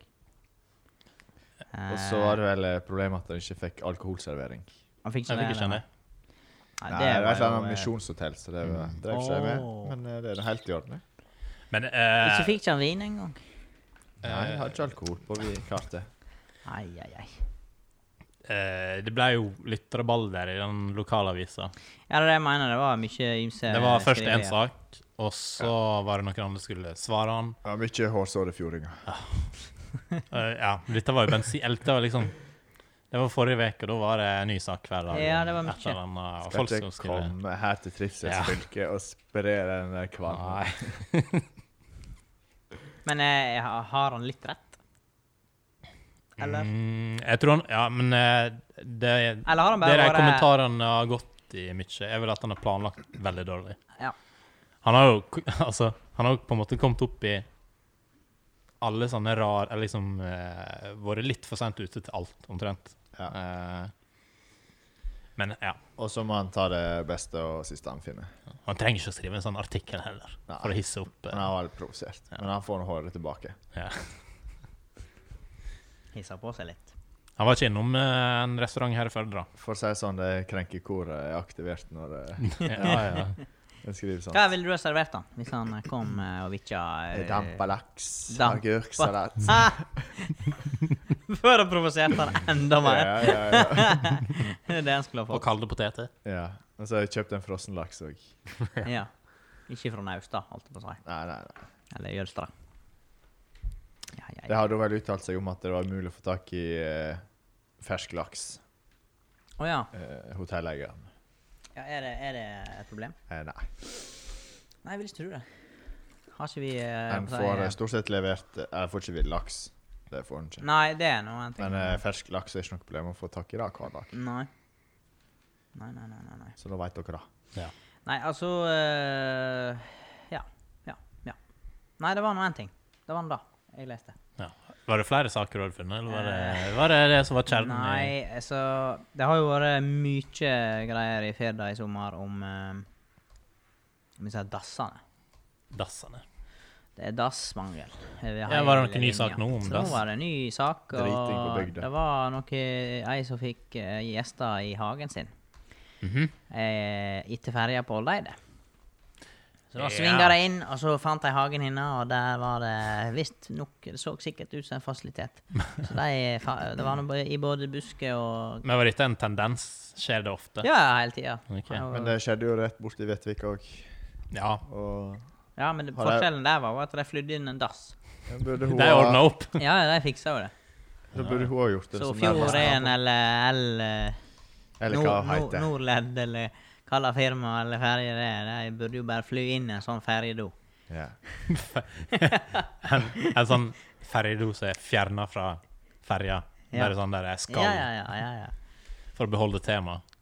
Speaker 2: Og så var det vel eh, problemet at han ikke fikk alkoholservering.
Speaker 3: Han fikk ikke
Speaker 1: Jeg fikk ikke
Speaker 3: det.
Speaker 1: skjønne.
Speaker 2: Nei,
Speaker 3: Nei,
Speaker 2: det var et eller
Speaker 3: jo,
Speaker 2: annet
Speaker 3: eh,
Speaker 2: misjonshotell, så det var- drev ikke de med.
Speaker 1: Mm. Åh.
Speaker 2: Men eh, det er nå helt i orden. det.
Speaker 1: Men
Speaker 3: Ikke
Speaker 1: eh,
Speaker 3: fikk ikke han vin engang.
Speaker 2: Nei, jeg har ikke alkohol på vi kartet.
Speaker 3: Ai, ai, ai.
Speaker 1: eh, det ble jo litt rabalder i den lokalavisa.
Speaker 3: Ja, det er det jeg mener. Det var mye ymse
Speaker 1: Det var først
Speaker 3: skriverier.
Speaker 1: én sak, og så var det noen andre skulle svare han.
Speaker 2: Ja, mye hårsåre fjordinger.
Speaker 1: Eh, ja, dette var jo bensin... Eller det var liksom Det var forrige uke, og da var det en ny sak hver dag.
Speaker 3: Ja, det var
Speaker 1: Et
Speaker 3: mye.
Speaker 1: eller annet, og
Speaker 2: Skal
Speaker 1: folk som
Speaker 2: ikke
Speaker 1: skulle
Speaker 2: komme her til trivselsfylket og spre den der kvalmen.
Speaker 1: Nei.
Speaker 3: Men eh, ha- har han litt rett? Eller?
Speaker 1: Mm, jeg tror han Ja, men eh, det
Speaker 3: Eller har han
Speaker 1: Det
Speaker 3: bare
Speaker 1: de
Speaker 3: vært
Speaker 1: kommentarene har gått i mye, er vel at han har planlagt veldig dårlig.
Speaker 3: Ja.
Speaker 1: Han har jo k- altså, han har jo på en måte kommet opp i alle sånne rar Eller liksom eh, vært litt for sent ute til alt, omtrent.
Speaker 2: Ja.
Speaker 1: Eh, men ja,
Speaker 2: Og så må han ta det beste og siste han finner.
Speaker 1: han trenger ikke å skrive en sånn artikkel heller,
Speaker 2: Nei.
Speaker 1: for å hisse opp. eh,
Speaker 2: Men han var litt provosert.
Speaker 1: Ja.
Speaker 2: Men han får nå håret tilbake.
Speaker 1: ja.
Speaker 3: Hissa på seg litt.
Speaker 1: Han var ikke innom eh, en restaurant her i Førde, da.
Speaker 2: For å si det sånn, det krenkekoret er aktivert når eh,
Speaker 1: Ja, ja.
Speaker 2: en skriver sånn.
Speaker 3: Hva ville du ha servert han, hvis han eh, kom eh, og vitja eh,
Speaker 2: Dampa laks,
Speaker 3: Dampa-
Speaker 2: agurksalat
Speaker 3: Ah! For å provosere han enda
Speaker 2: ja,
Speaker 3: mer.
Speaker 2: ja, ja.
Speaker 3: Det er det han skulle ha
Speaker 1: Og
Speaker 3: fått.
Speaker 1: kalde poteter.
Speaker 2: ja. Og så har jeg kjøpt en frossen laks òg.
Speaker 3: Ja. Ikke fra Naustad, holdt jeg på å si.
Speaker 2: Nei, nei, nei.
Speaker 3: Eller Jølstra. Ja, ja,
Speaker 2: Det
Speaker 3: ja.
Speaker 2: hadde jo vel uttalt seg om at det var mulig å få tak i eh, fersk laks.
Speaker 3: Å ja.
Speaker 2: Eh, Hotelleieren.
Speaker 3: ja er, det, er det et problem?
Speaker 2: Eh, nei.
Speaker 3: Nei, jeg vil ikke tro det. Har ikke vi eh,
Speaker 2: En
Speaker 3: på å si-
Speaker 2: får eh, stort sett levert eh, Eller får ikke vill laks. Det får en ikke.
Speaker 3: Nei, det er noe en ting.
Speaker 2: Men eh, fersk laks er ikke noe problem å få tak i det hver dag.
Speaker 3: Nei. Nei, nei, nei, nei, nei.
Speaker 2: Så da veit dere det.
Speaker 1: Ja.
Speaker 3: Nei, altså eh, Ja. Ja. Ja. Nei, det var nå én ting. Det var nå da jeg leste.
Speaker 1: Ja. Var det flere saker du hadde funnet, eller var det var det, det som var kjernen? i-
Speaker 3: Nei, altså Det har jo vært mye greier i Firda i sommer om eh, Om disse dassene.
Speaker 1: dassene.
Speaker 3: Det er dassmangel.
Speaker 1: Ja, var det noen ny sak nå om
Speaker 3: Så
Speaker 1: dass?
Speaker 3: Nå var det en ny sak,
Speaker 2: Driting på
Speaker 3: og
Speaker 2: bygda.
Speaker 3: det var noe ei som fikk eh, gjester i hagen sin.
Speaker 1: Mhm.
Speaker 3: Eh, etter ferja på Oldeide. Så da
Speaker 1: Ja.
Speaker 3: svinga de inn, og så fant de hagen hennes, og der var det visst nok Det så sikkert ut som en fasilitet. Så de, fa- det var nå bare i både busker og
Speaker 1: Men var dette en tendens? Skjer det ofte?
Speaker 3: Ja, hele tida.
Speaker 1: Ok.
Speaker 2: Men det skjedde jo rett borti Vetvik òg.
Speaker 1: Ja.
Speaker 2: Og
Speaker 3: Ja, men det,
Speaker 2: Har det-
Speaker 3: forskjellen der var jo at de flydde inn en dass.
Speaker 2: jeg burde hun
Speaker 1: De ordna opp.
Speaker 3: Ja, ja, de fiksa jo det.
Speaker 2: Da burde hun òg gjort det.
Speaker 3: Så
Speaker 2: som
Speaker 3: Fjorden
Speaker 2: nærmest-
Speaker 3: eller L...
Speaker 2: Eller hva
Speaker 3: Nor-
Speaker 2: det
Speaker 3: Nor-
Speaker 2: heter.
Speaker 3: Nordledd eller hva la firma eller ferje det er. De burde jo bare fly inn en sånn ferjedo.
Speaker 2: Ja.
Speaker 1: En, en sånn ferjedose fjerna fra ferja.
Speaker 3: Ja.
Speaker 1: Bare sånn der jeg skal,
Speaker 3: Ja, ja, ja, ja, ja.
Speaker 1: for å beholde temaet.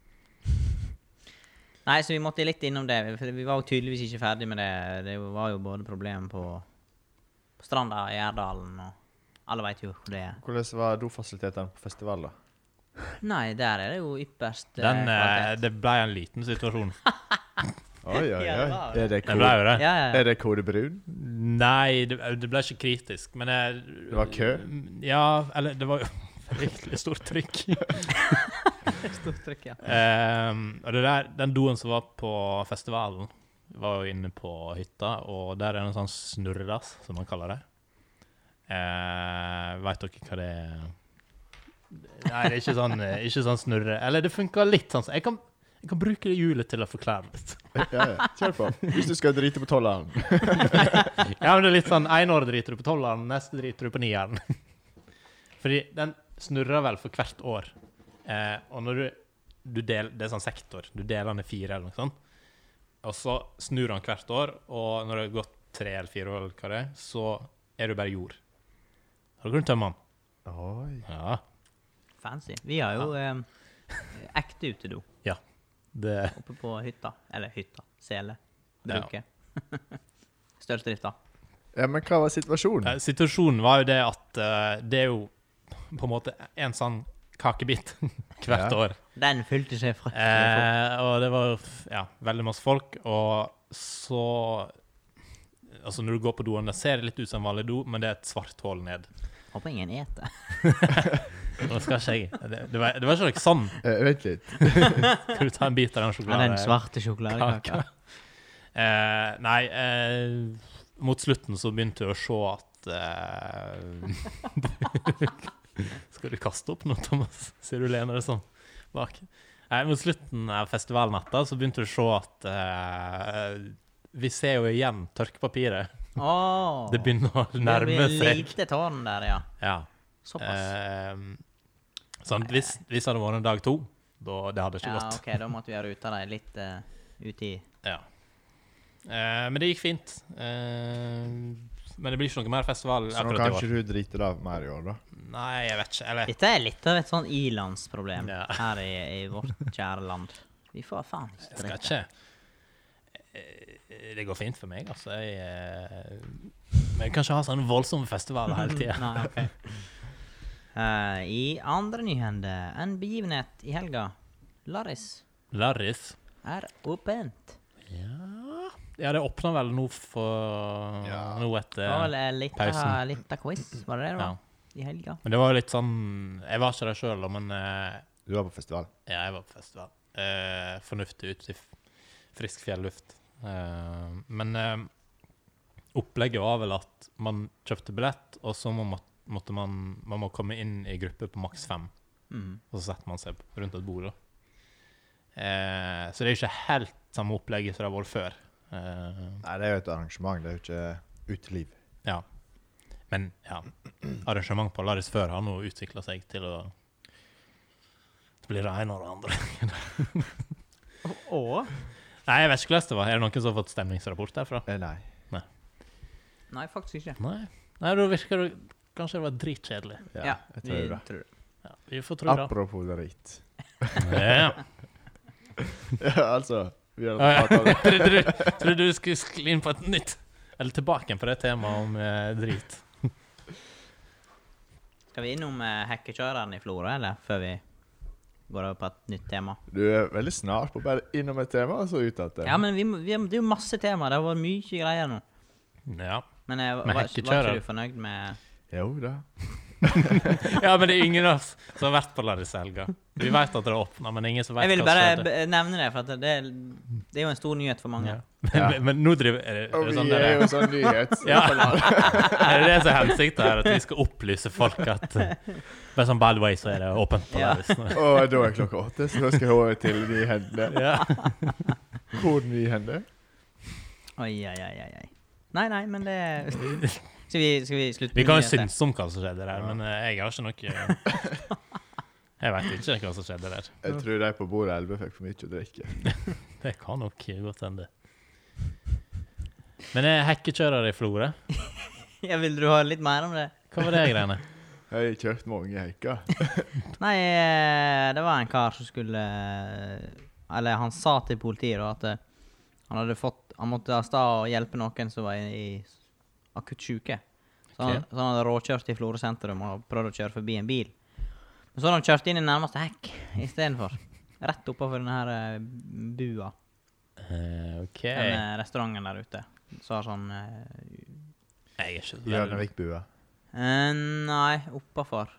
Speaker 3: Nei, så vi måtte litt innom det. For vi var jo tydeligvis ikke ferdig med det. Det var jo både problem på, på stranda i Gjerdalen og Alle veit jo hvor det er.
Speaker 2: Hvordan var dofasilitetene på festival, da?
Speaker 3: Nei, der er det jo ypperst eh,
Speaker 1: Den, eh,
Speaker 3: kvalitet.
Speaker 1: det ble en liten situasjon.
Speaker 2: Oi, oi,
Speaker 3: Ja, det
Speaker 2: oi. Er det
Speaker 3: var det.
Speaker 1: Det ble
Speaker 2: kode,
Speaker 1: jo det.
Speaker 3: Ja, ja,
Speaker 2: er det kode brun?
Speaker 1: Nei, det, det ble ikke kritisk, men jeg,
Speaker 2: Det var kø?
Speaker 1: Ja, eller det var jo fryktelig stort trykk.
Speaker 3: ja. Stort trykk, ja.
Speaker 1: Ehm, og det der, den doen som var på festivalen, var jo inne på hytta, og der er det en sånn snurredass, som man kaller det. Uh, Veit dere hva det er? Nei, det er ikke sånn, eh, ikke sånn snurre. Eller det funker litt sånn. så Jeg kan, jeg kan bruke det hjulet til å forklare litt.
Speaker 2: Ja, ja. Kjør på. Hvis du skal drite på tolleren.
Speaker 1: Ja, men det er litt sånn En år driter du på tolveren, neste driter du på nieren. Fordi den snurrer vel for hvert år. Eh, og når du, du del, Det er sånn sektor. Du deler den i fire eller noe sånt. Og så snur han hvert år, og når det har gått tre eller fire år, eller hva det er, så er du bare jord. Da kan du tømme den.
Speaker 2: Oi.
Speaker 1: Ja.
Speaker 3: Fancy. Vi har jo eh, ekte utedo
Speaker 1: Det,
Speaker 3: oppe på hytta. Eller hytta. Sele.
Speaker 1: Ja.
Speaker 3: Bruket. Stølsdrifta.
Speaker 2: Ja, men hva var situasjonen?
Speaker 1: eh, situasjonen var jo det at eh, det er jo på en måte en sånn kakebit hvert
Speaker 2: Ja.
Speaker 1: år.
Speaker 3: Den fylte seg fryktelig fort.
Speaker 1: Eh, og det var jo f- ja, veldig masse folk, og så Altså, når du går på doen, det ser litt ut som en vanlig do, men det er et svart hull ned.
Speaker 3: Håper ingen eter.
Speaker 1: Nå skal ikke jeg Det, det, var, det var ikke noe sånn.
Speaker 2: Eh, vent litt.
Speaker 1: Skal du ta en bit av den
Speaker 3: Ja, den
Speaker 1: sjokoladekaka?
Speaker 3: svarte sjokoladekaka.
Speaker 1: Eh, nei, eh, mot slutten så begynte jeg å se at eh, Skal du kaste opp nå, Thomas? Sier du lener deg sånn bak. Nei, mot slutten av festivalnatta så begynte jeg å se at eh, Vi ser jo igjen tørkepapiret.
Speaker 3: Åh.
Speaker 1: Det begynner å nærme
Speaker 3: Det blir
Speaker 1: seg.
Speaker 3: lite tårn der, ja.
Speaker 1: Ja.
Speaker 3: Såpass.
Speaker 1: Eh, sånn, hvis, hvis det hadde vært dag to, da det hadde ikke
Speaker 3: ja,
Speaker 1: gått.
Speaker 3: OK, da måtte vi ha ruta dem litt eh, ut i
Speaker 1: Ja. Eh, men det gikk fint. Eh, men det blir ikke noe mer festival
Speaker 2: Så nå
Speaker 1: akkurat
Speaker 2: kan
Speaker 1: i år.
Speaker 2: ikke du drite det av mer i år, da?
Speaker 1: Nei, jeg vet ikke. Eller
Speaker 3: Dette er litt av et sånn ilandsproblem
Speaker 1: Ja.
Speaker 3: her i, i vårt kjære land. Vi får faen ikke
Speaker 1: jeg skal
Speaker 3: drikke.
Speaker 1: ikke. eh, Det går fint for meg, altså. Jeg, eh, men jeg kan ikke ha sånne voldsomme festivaler hele tida.
Speaker 3: Mm, Nei, ok. Eh, I andre nyhender en begivenhet i helga. Laris
Speaker 1: Larris.
Speaker 3: er åpent.
Speaker 1: Ja Ja, det åpna vel nå for
Speaker 2: Ja.
Speaker 1: Nå
Speaker 3: Det var vel
Speaker 1: etter
Speaker 3: en lita,
Speaker 1: pausen.
Speaker 3: lita eh, quiz, var det det det
Speaker 1: ja.
Speaker 3: var? I helga.
Speaker 1: Men det var jo litt sånn Jeg var ikke der sjøl, men eh,
Speaker 2: Du var på festival.
Speaker 1: ja, jeg var på festival. Eh, fornuftig ut i f- frisk fjelluft. Eh, men eh, opplegget var vel at man kjøpte billett, og så må, ma- måtte man, man må komme inn i gruppe på maks fem.
Speaker 3: Mm.
Speaker 1: Og så setter man seg rundt et bord, da. Eh, så det er ikke helt samme opplegget som det har vært før. Eh,
Speaker 2: Nei, det er jo et arrangement, det er jo ikke uteliv.
Speaker 1: Ja. Men ja, arrangement på Laris før har nå utvikla seg til å bli det ene og det andre.
Speaker 3: Og?
Speaker 1: Nei, jeg vet ikke hvordan det var. Er det noen som har fått stemningsrapport derfra?
Speaker 2: Eh, Nei.
Speaker 3: Nei, faktisk ikke.
Speaker 1: Nei, Nei da virker det Kanskje det var dritkjedelig.
Speaker 3: Ja,
Speaker 2: jeg
Speaker 3: vi
Speaker 2: tror det.
Speaker 3: tror det.
Speaker 1: Ja, vi får tro det.
Speaker 2: Apropos dritt.
Speaker 1: Ja.
Speaker 2: ja, altså. Vi har
Speaker 1: Ah, ja.
Speaker 2: pratet om det.
Speaker 1: Trodde du, trodde du skulle skli inn på et nytt Eller tilbake igjen på det temaet om eh, drit.
Speaker 3: Skal vi innom eh, hekkekjøreren i Florø, eller? Før vi går over på et nytt tema.
Speaker 2: Du er veldig snar på å bare innom et tema og så eh. ut igjen.
Speaker 3: Ja, men vi, må- vi, det er jo masse tema. Det har vært mye greier nå.
Speaker 1: Ja.
Speaker 3: Men
Speaker 1: Med
Speaker 3: eh, var, var ikke
Speaker 1: hekkekjører.
Speaker 3: du fornøyd med
Speaker 2: Jo da.
Speaker 1: ja, men det er ingen av oss som har vært på Laris i helga. Vi vet at det åpna, men ingen som vet
Speaker 3: Jeg ville
Speaker 1: hva
Speaker 3: bare
Speaker 1: som skjedde.
Speaker 3: b- nevne det, for at det, det er jo en stor nyhet for mange.
Speaker 1: Ja. Men, men, men nå driver er det, er
Speaker 2: Og
Speaker 1: det
Speaker 2: vi
Speaker 1: sånn
Speaker 2: er
Speaker 1: der,
Speaker 2: jo sånn nyhets...
Speaker 1: Ja. Er det det som er hensikten her? At vi skal opplyse folk at eh, Bare sånn bad way, så er det åpent på
Speaker 3: Ja.
Speaker 1: Lauritz nå.
Speaker 2: Og da er klokka åtte, så da skal jeg over til nyhendene.
Speaker 1: Ja.
Speaker 2: Hvor nyhender?
Speaker 3: Oi, oi, oi, oi, oi. Nei, nei, men det Skal vi, skal vi slutte
Speaker 1: Vi kan jo
Speaker 3: nyheter?
Speaker 1: synse om hva som skjedde der, men eh, jeg har ikke noe Jeg vet ikke hva som skjedde der.
Speaker 2: Jeg tror de på bordet 11 fikk for mye å drikke.
Speaker 1: Det kan nok godt hende. Men jeg er hekkekjører i Florø.
Speaker 3: Ja, vil du ha litt mer om det?
Speaker 1: Hva var det greiene?
Speaker 2: Jeg har kjørt mange hekker.
Speaker 3: Nei, eh, det var en kar som skulle eh, Eller han sa til politiet da at eh, han hadde fått Han måtte av sted og hjelpe noen som var i, i akutt syke. Så han,
Speaker 1: Ok.
Speaker 3: så han hadde råkjørt i Florø sentrum og prøvd å kjøre forbi en bil. Men så hadde han kjørt inn i nærmeste hekk istedenfor. Rett oppafor denne her eh, bua.
Speaker 1: Eh, OK. Jeg
Speaker 3: Den eh, restauranten der ute. Så har sånn eh,
Speaker 1: er ikke så veldig-
Speaker 2: Hjørnevikbua.
Speaker 3: eh, Nei, oppafor.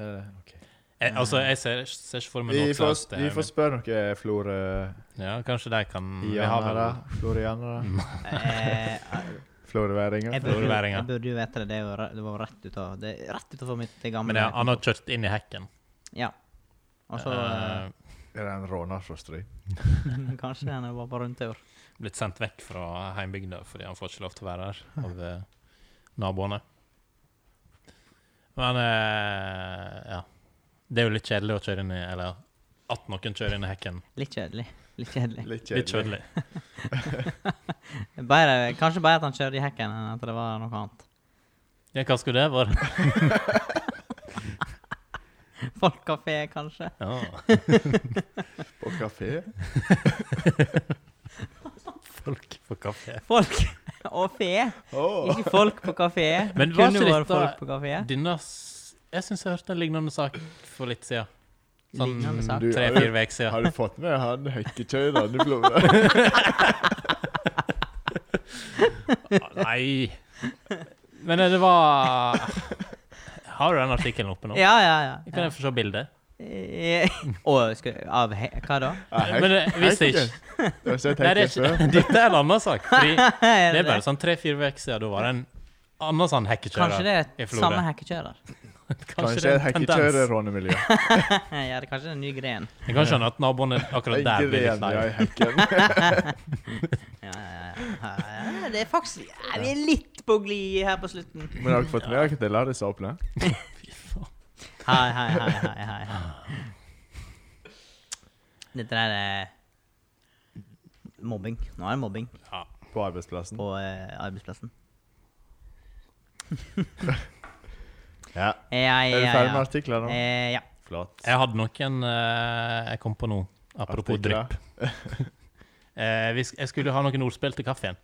Speaker 1: jeg, Altså, jeg ser, ser ikke for meg
Speaker 2: Eh, Vi
Speaker 1: noe
Speaker 2: får,
Speaker 1: klart, eh,
Speaker 2: vi får spørre noen florianere.
Speaker 1: Ja, kanskje de kan Mm, Vi har vel
Speaker 2: Florianere.
Speaker 3: Eh,
Speaker 2: Floriværinger.
Speaker 3: jeg, burde,
Speaker 1: Florøværinger.
Speaker 3: jeg burde jo vite det. Det er jo re- det var jo rett utav Det er rett utenfor mitt det gamle.
Speaker 1: Men ja, han har kjørt inn i hekken.
Speaker 3: Ja. Og så eh,
Speaker 1: Eh,
Speaker 2: Er det en råner fra Stry?
Speaker 3: Kanskje han var på rundtur.
Speaker 1: blitt sendt vekk fra heimbygda fordi han får ikke lov til å være der av eh, naboene. Men eh, ja. Det er jo litt kjedelig å kjøre inn i Eller at noen kjører inn i hekken.
Speaker 3: Litt kjedelig. Litt kjedelig.
Speaker 2: Litt
Speaker 1: Litt
Speaker 2: kjedelig.
Speaker 1: kjedelig.
Speaker 3: Bare, kanskje bare at han kjørte i hekken, enn at det var noe annet.
Speaker 1: Ja, hva skulle det vært?
Speaker 3: Folkkafé, kanskje.
Speaker 1: Ja.
Speaker 2: På kafé?
Speaker 1: Folk på kafé.
Speaker 3: Folk og fe.
Speaker 2: Åh.
Speaker 3: Ikke folk på kafé.
Speaker 1: Men
Speaker 3: Det
Speaker 1: var
Speaker 3: kunne
Speaker 1: ikke
Speaker 3: vært
Speaker 1: dette-
Speaker 3: folk på kafé.
Speaker 1: Denne s- Jeg syns jeg hørte en lignende sak for litt siden. Sånn
Speaker 3: Lignende sak.
Speaker 2: Du-
Speaker 1: tre-fire uker siden.
Speaker 2: Har du fått med han hekkekjøreren i Florø?
Speaker 1: Ah, Nei. Men eh, det var Har du den artikkelen oppe nå?
Speaker 3: Ja, ja, ja.
Speaker 1: Kan jeg få se bildet?
Speaker 3: Eh, Å, skal av he Hva da?
Speaker 1: Men det, hvis det ikke
Speaker 2: Hekken. Du har sett
Speaker 1: Nei, det
Speaker 2: hekken
Speaker 1: er
Speaker 2: før?
Speaker 1: ikke, dette er en annen sak. Fordi det
Speaker 3: Er
Speaker 1: er bare sånn tre-fire uker siden da var det en annen sånn hekkekjører.
Speaker 3: Kanskje det
Speaker 1: i
Speaker 3: er
Speaker 1: Florø.
Speaker 3: samme hekkekjører.
Speaker 2: Kanskje et
Speaker 1: er en tendens.
Speaker 2: hekkekjørerrånemiljø.
Speaker 3: ja, det er kanskje en ny gren.
Speaker 1: Jeg kan skjønne at naboene akkurat
Speaker 2: En
Speaker 1: der blir litt
Speaker 2: gren
Speaker 1: lei.
Speaker 2: ja, i hekken.
Speaker 3: Ja, ja, ja. ja, det er faktisk ja, Vi er litt på glid her på slutten.
Speaker 2: Men har du fått med deg at det lar det seg åpne?
Speaker 1: Fy faen.
Speaker 3: Hei, hei, hei, hei. hei. Dette der er mobbing. Nå er det mobbing
Speaker 1: Ja.
Speaker 2: På arbeidsplassen?
Speaker 3: på eh, arbeidsplassen.
Speaker 2: Ja.
Speaker 3: Ja, Eh, ja,
Speaker 2: Er
Speaker 3: ja.
Speaker 2: du ferdig med artikler nå?
Speaker 3: Eh, ja.
Speaker 2: Flott.
Speaker 1: Jeg hadde noen eh, jeg kom på nå, apropos
Speaker 2: Artikler.
Speaker 1: drypp. Eh, vi sk- jeg skulle ha noen ordspill til kaffen.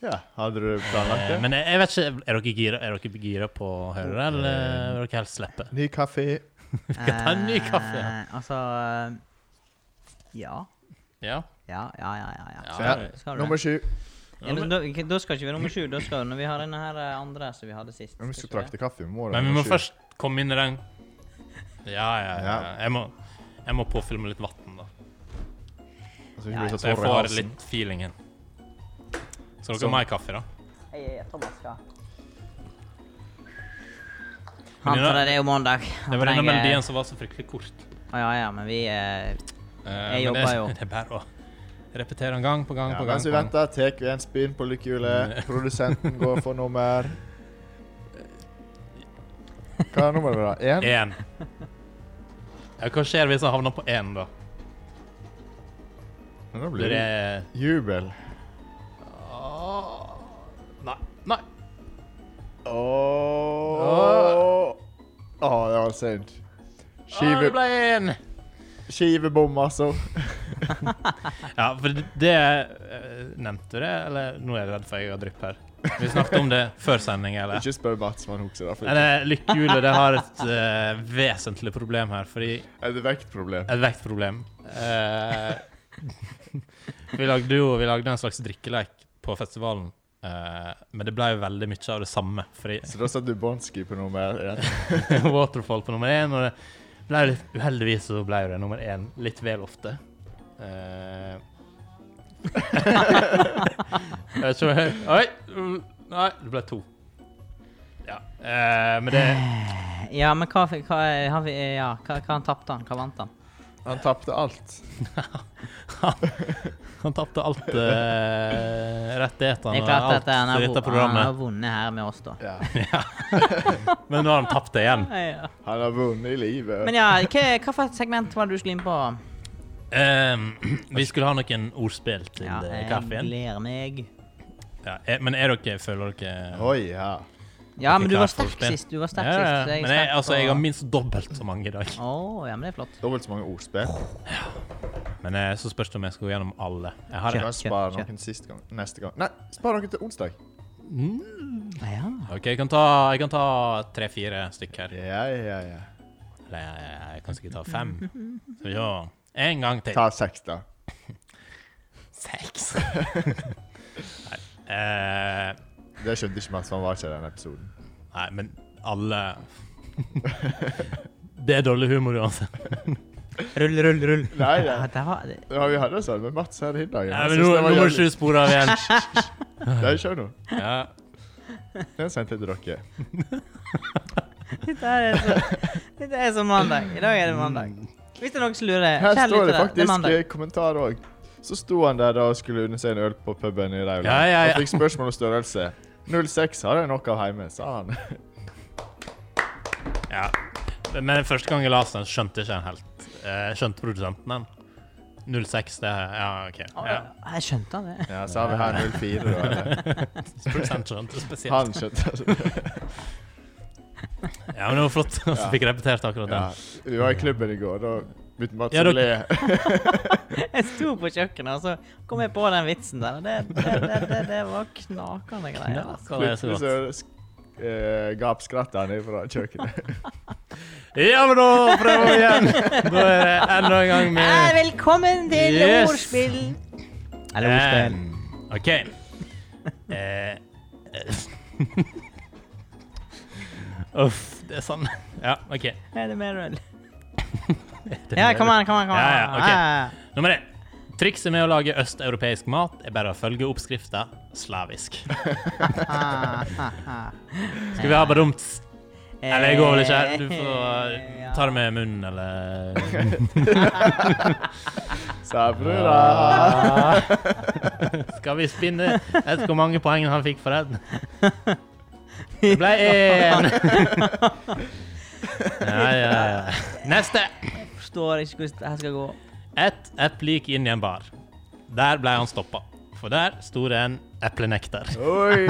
Speaker 2: Ja, hadde du planlagt
Speaker 1: Eh,
Speaker 2: det?
Speaker 1: men jeg, jeg vet ikke, er dere gira, er dere gira på å høre det, eller
Speaker 2: Eh,
Speaker 1: vil dere helst slippe?
Speaker 2: Ny kaffe.
Speaker 1: Skal ta en ny kaffe?
Speaker 3: Eh, altså Ja.
Speaker 1: Ja.
Speaker 3: Ja, ja, ja. ja, ja.
Speaker 1: Ja,
Speaker 3: Skal
Speaker 2: ja.
Speaker 3: du- Skal du
Speaker 2: Nummer
Speaker 3: det?
Speaker 2: sju.
Speaker 1: Ja,
Speaker 3: Ja,
Speaker 1: men-
Speaker 3: da, da- da skal ikke vi nummer sju. Da skal når vi har denne her eh, andre som vi hadde sist.
Speaker 2: Om vi skal
Speaker 3: ikke vi det?
Speaker 2: trakte kaffe, vi må da
Speaker 1: Men vi
Speaker 2: nummer
Speaker 1: må
Speaker 2: sju.
Speaker 1: først komme inn i den Ja, ja, ja.
Speaker 2: Ja.
Speaker 1: Jeg må, jeg må påfylle med litt vann, da.
Speaker 2: Så vi ikke blir
Speaker 1: Så
Speaker 2: så
Speaker 1: jeg
Speaker 2: tårer i
Speaker 1: får
Speaker 2: halsen.
Speaker 1: litt feelingen. Så dere
Speaker 2: Sånn.
Speaker 1: har mer kaffe, da?
Speaker 3: Jeg, jeg, Thomas skal
Speaker 1: Men
Speaker 3: Han
Speaker 1: denne-
Speaker 3: trenger det er jo mandag. Han
Speaker 1: Det var denne
Speaker 3: trenger-
Speaker 1: melodien som var så fryktelig kort.
Speaker 3: Å, ja, ja, men vi eh,
Speaker 1: Eh, men
Speaker 3: jobber
Speaker 1: det, er-
Speaker 3: jo.
Speaker 1: Det er bare å repetere den gang på gang
Speaker 2: Ja,
Speaker 1: på gang.
Speaker 2: mens vi
Speaker 1: På gang. Mm.
Speaker 2: venter, tar vi en spinn på lykkehjulet. Produsenten går for nummer Hva er nummeret, da? Én?
Speaker 1: Én. Ja, hva skjer hvis han havner på én, da?
Speaker 2: Men Nå
Speaker 1: Blir
Speaker 2: blir det
Speaker 1: det
Speaker 2: jubel.
Speaker 1: Åh. Nei. Nei.
Speaker 2: Åh Åh, det var
Speaker 1: Å,
Speaker 2: synd.
Speaker 1: det
Speaker 2: Skive,
Speaker 1: ble én!
Speaker 2: skivebom, altså.
Speaker 1: Ja, for det- det eh, Nevnte du det, eller nå er jeg redd for jeg har drypp her. Vi snakket om det før sending, eller?
Speaker 2: Ikke spør Mats om han husker det. for
Speaker 1: Nei, det- Lykkehjulet det har et eh, vesentlig problem her, fordi
Speaker 2: Er det vektproblem?
Speaker 1: Et vektproblem. Eh, vi lagde jo vi lagde en slags drikkeleik på festivalen, eh, men det ble jo veldig mye av det samme. Fordi
Speaker 2: Så da satt du båndski på nummer én.
Speaker 1: Waterfall på nummer én, og det ble litt, uheldigvis så ble det nummer én litt vel ofte. Eh, jeg vet ikke om jeg Oi! mm, Nei, det ble to. Ja. eh, men det
Speaker 3: Ja, men hva, hva, har vi, ja, hva, hva han tapte han? Hva vant han?
Speaker 2: Han tapte alt.
Speaker 1: Han tapte alt eh, rettighetene
Speaker 3: Det er
Speaker 1: og
Speaker 3: klart
Speaker 1: alt
Speaker 3: at han har,
Speaker 1: i dette
Speaker 3: vo- han
Speaker 1: programmet.
Speaker 3: har vunnet her med oss, da.
Speaker 2: Ja.
Speaker 1: Men nå har han tapt det igjen.
Speaker 3: Ja.
Speaker 2: Han har vunnet i livet.
Speaker 3: Men ja, hva, hva for et segment var det du skulle inn på?
Speaker 1: Ehm, vi skulle ha noen ordspill til
Speaker 3: Ja,
Speaker 1: eh,
Speaker 3: jeg
Speaker 1: kaffen.
Speaker 3: gleder meg.
Speaker 1: Ja, eh, men er dere føler dere
Speaker 2: Oi, ja.
Speaker 3: Ja,
Speaker 1: Ok,
Speaker 3: men du
Speaker 1: klar
Speaker 3: var
Speaker 1: for
Speaker 3: sterk
Speaker 1: ordspill.
Speaker 3: sist. Du var sterk
Speaker 1: Ja, ja, ja.
Speaker 3: sist. så
Speaker 1: Men jeg,
Speaker 3: er
Speaker 1: altså,
Speaker 3: sterk
Speaker 1: jeg har
Speaker 3: på-
Speaker 1: minst dobbelt så mange i dag.
Speaker 3: Å, ja, men det er flott.
Speaker 2: Dobbelt så mange ordspill.
Speaker 1: Men eh, så spørs det om jeg skal gå gjennom alle. Jeg har
Speaker 2: Kan
Speaker 1: en.
Speaker 2: jeg spare
Speaker 3: kjør.
Speaker 2: noen sist gang? neste gang? Nei, spar noen til onsdag.
Speaker 3: Ja.
Speaker 1: OK, jeg kan ta, jeg kan ta tre-fire stykk her.
Speaker 2: Ja, ja, ja.
Speaker 1: Eller eh, jeg kan sikkert ta fem. Skal vi se. En gang til.
Speaker 2: Ta seks, da.
Speaker 1: Seks. Nei. Eh,
Speaker 2: Det skjønte ikke Mats, for han var ikke i den episoden.
Speaker 1: nei, men alle Det er dårlig humor uansett.
Speaker 3: Rull, rull, rull.
Speaker 2: Nei,
Speaker 3: Ja,
Speaker 2: ja.
Speaker 3: det var, det,
Speaker 2: Ja, vi hadde det sånn med Mats her i dag.
Speaker 1: Nei, men nå, nå må du ikke spore av igjen.
Speaker 2: Nei, kjør nå.
Speaker 1: Ja.
Speaker 2: Den sendte jeg til dere.
Speaker 3: dette er så, dette er så mandag. I dag er det mandag. Hvis det er noen som lurer,
Speaker 2: Her står
Speaker 3: kjære
Speaker 2: det
Speaker 3: lyttere, det er
Speaker 2: faktisk
Speaker 3: mandag.
Speaker 2: eh, kommentar òg. Så sto han der da og skulle unne seg en øl på puben i Rauland.
Speaker 1: Ja, ja, ja.
Speaker 2: Og fikk spørsmål om størrelse. 06 har jeg nok av hjemme, sa han.
Speaker 1: Ja. Men første gang jeg leste den, skjønte jeg ikke den helt. Eh, skjønte produsenten den? 06, det er Ja, OK.
Speaker 3: Å,
Speaker 1: Ja.
Speaker 3: Jeg skjønte det.
Speaker 2: Ja, så har vi her 04, da. eller?
Speaker 1: Produsenten skjønte spesielt.
Speaker 2: Han skjønte det.
Speaker 1: Ja, men det var flott at du fikk repetert akkurat
Speaker 2: Ja.
Speaker 1: den.
Speaker 2: Vi var i klubben i går, da begynte Mats
Speaker 1: Ja,
Speaker 2: å
Speaker 1: dere-
Speaker 2: le.
Speaker 3: Jeg sto på kjøkkenet, og så kom jeg på den vitsen der. og Det, det, det, det, det var knakende greier.
Speaker 1: Ja,
Speaker 3: altså.
Speaker 1: hva var det så
Speaker 2: Plutselig så
Speaker 1: godt?
Speaker 2: sk- eh, gapskratt han ifra kjøkkenet.
Speaker 1: Ja, men da prøver vi igjen! Da er det enda en gang
Speaker 3: Eh,
Speaker 1: med
Speaker 3: Velkommen til
Speaker 1: Yes.
Speaker 3: ordspill. Eller
Speaker 1: Eh,
Speaker 3: ordspill.
Speaker 1: OK. Eh, Uff, det er sånn. Ja, OK.
Speaker 3: Eh, Er det mer øl? Ja, kom an, kom an. Ah, kom an.
Speaker 1: Ja, ja, ok.
Speaker 3: Ja, ja.
Speaker 1: Nummer én. Trikset med å lage østeuropeisk mat er bare å følge oppskrifta slavisk.
Speaker 3: Ah, ah, ah.
Speaker 1: Skal vi ha badumt? Eller jeg går vel ikke her. Du
Speaker 3: Ja. Eh,
Speaker 1: får eh, ta det med munnen, eller
Speaker 2: Sa brura.
Speaker 1: Skal vi spinne? Jeg vet ikke hvor mange poeng han fikk for den. Det ble én. Ja, ja, ja. Neste.
Speaker 3: Forstår ikke hvordan det her skal gå.
Speaker 1: Ett eplik inn i en bar. Der ble han stoppa. For der sto det en eplenekter.
Speaker 2: Oi!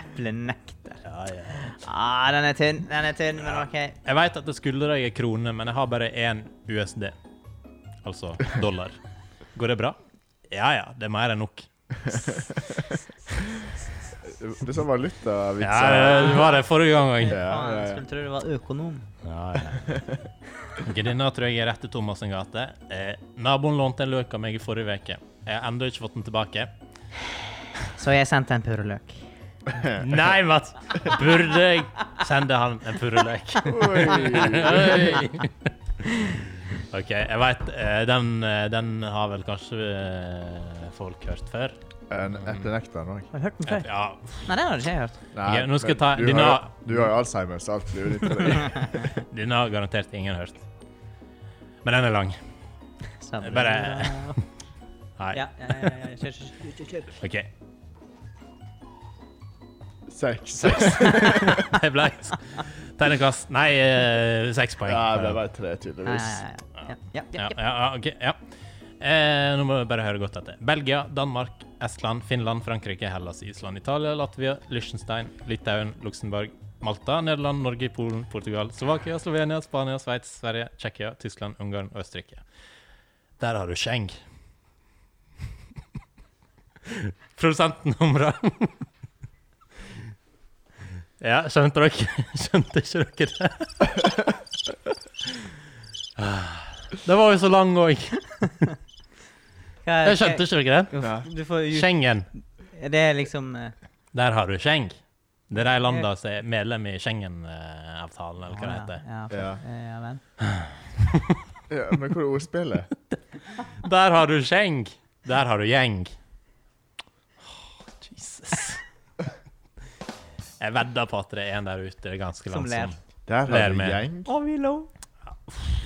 Speaker 3: Eplenekter.
Speaker 1: Ja, ja.
Speaker 3: Ah, den er tynn, den er tynn, men OK.
Speaker 1: Jeg veit at det skylder deg en krone, men jeg har bare én USD. Altså dollar. Går det bra? Ja ja, det er mer enn nok.
Speaker 2: Det er sånn
Speaker 1: Ja,
Speaker 2: valutavitser.
Speaker 1: det var det forrige gang òg.
Speaker 2: Ja, ja, ja.
Speaker 3: Skulle tro det var økonom.
Speaker 1: Ja, ja. Ok, Denne tror jeg er rett til Thomas sin gate. Eh, naboen lånte en løk av meg i forrige uke. Jeg har ennå ikke fått den tilbake.
Speaker 3: Så jeg sendte en purreløk.
Speaker 1: Nei, Mats! Burde jeg sende han en purreløk? Oi. OK, jeg veit den, eh, den har vel kanskje eh, folk hørt før.
Speaker 2: En etternekter han òg.
Speaker 3: Har du hørt den før?
Speaker 1: Ja,
Speaker 3: Nei, den hadde ikke jeg hørt.
Speaker 1: Ok, nå skal jeg ta
Speaker 2: du,
Speaker 1: dine-
Speaker 2: har, jo- du har jo Alzheimer, så alt blir jo litt dårlig.
Speaker 1: den har garantert ingen hørt. Men den er lang.
Speaker 3: Så det-
Speaker 1: Bare- Nei.
Speaker 3: Ja, ja, ja, ja, kjør, kjør, kjør, kjør, kjør.
Speaker 1: OK.
Speaker 2: Seks.
Speaker 1: Jeg ble Tegnekast Nei, eh, seks poeng.
Speaker 2: Ja, det var tre,
Speaker 3: Ja,
Speaker 2: tydeligvis.
Speaker 3: ja, ja, ja,
Speaker 1: Ja,
Speaker 3: ja, ja.
Speaker 1: ja, ja, ok, ja. Eh, nå må vi bare høre godt etter. Belgia, Danmark, Estland, Finland, Frankrike, Hellas, Island, Italia, Latvia, Liechtenstein, Litauen, Luxembourg, Malta, Nederland, Norge, Polen, Portugal, Slovakia, Slovenia, Spania, Sveits, Sverige, Tsjekkia, Tyskland, Ungarn og Østerrike. Der har du Scheng. Produsenten humra. ja, skjønte dere? Skjønte ikke dere det? Det var jo så lang òg.
Speaker 3: Hva-
Speaker 1: Jeg skjønte ikke dere det.
Speaker 3: Uff, Du får ju-
Speaker 1: Schengen.
Speaker 3: Det er liksom eh,
Speaker 1: Der har du Scheng. Det er de landene som er medlem i Schengen-avtalen, eller hva det heter.
Speaker 3: Ja, for-
Speaker 2: Ja.
Speaker 3: eh, ja vel.
Speaker 2: Ja, men hvor er ordspillet?
Speaker 1: Der har du Scheng. Der har du gjeng. Åh, Jesus. Jeg vedder på at det er en der ute det er ganske
Speaker 3: Som
Speaker 1: langt
Speaker 3: ler.
Speaker 1: som
Speaker 2: Der
Speaker 1: Ler
Speaker 2: har du
Speaker 1: med.
Speaker 2: gjeng.
Speaker 3: Og vi lå.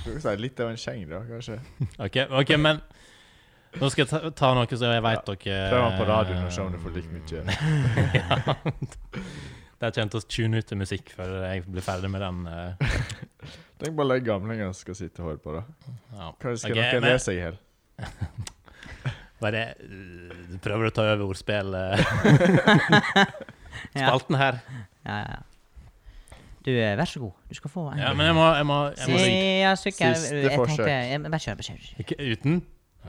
Speaker 2: Du kan si Litt av en skjeng, da, kanskje.
Speaker 1: OK, ok, men nå skal jeg ta, ta noe som jeg veit dere
Speaker 2: Prøv den på radioen og se om du får like mye.
Speaker 1: Der kommer til å tune ut til musikk før jeg blir ferdig med den. eh.
Speaker 2: Tenk bare alle gamlingene som skal sitte og høre på, da.
Speaker 1: Ja.
Speaker 2: Kanskje skal
Speaker 1: Ok,
Speaker 2: noen
Speaker 1: men-
Speaker 2: le seg i hjel.
Speaker 1: Bare eh, du prøver å ta over øh. ordspillspalten
Speaker 3: Ja.
Speaker 1: her.
Speaker 3: Ja, ja. Du, eh, vær så god. Du skal få en.
Speaker 1: Ja, men jeg må, jeg må, jeg må
Speaker 3: Ja, sykkel.
Speaker 2: Siste
Speaker 3: Jeg tenkte
Speaker 2: forsøk.
Speaker 3: jeg- Bare kjør, bare kjør.
Speaker 1: Ikke uten?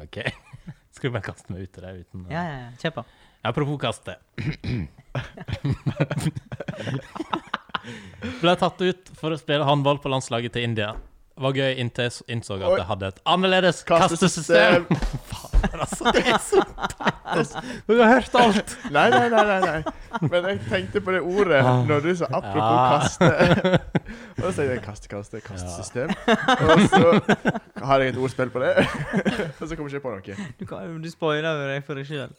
Speaker 1: OK. Skal du bare kaste meg ut til deg uten
Speaker 3: Ja, ja, ja. Kjør på.
Speaker 1: Apropos kaste. Ble tatt ut for å spille håndball på landslaget til India. Var gøy inntil jeg s- innså at
Speaker 2: Oi.
Speaker 1: jeg hadde et annerledes
Speaker 2: Kastesystem!
Speaker 1: kastesystem. Fader, altså. Det er så teit. Du har hørt alt.
Speaker 2: Nei, nei, nei, nei, nei. Men jeg tenkte på det ordet
Speaker 1: Ah.
Speaker 2: når du sa apropos
Speaker 1: Ja.
Speaker 2: kaste. Og så tenkte jeg kaste, kaste, kastesystem. Og så har jeg et ordspill på det. Og så kommer jeg ikke på noe.
Speaker 3: Du, kan- du spoiler jo deg for deg sjøl.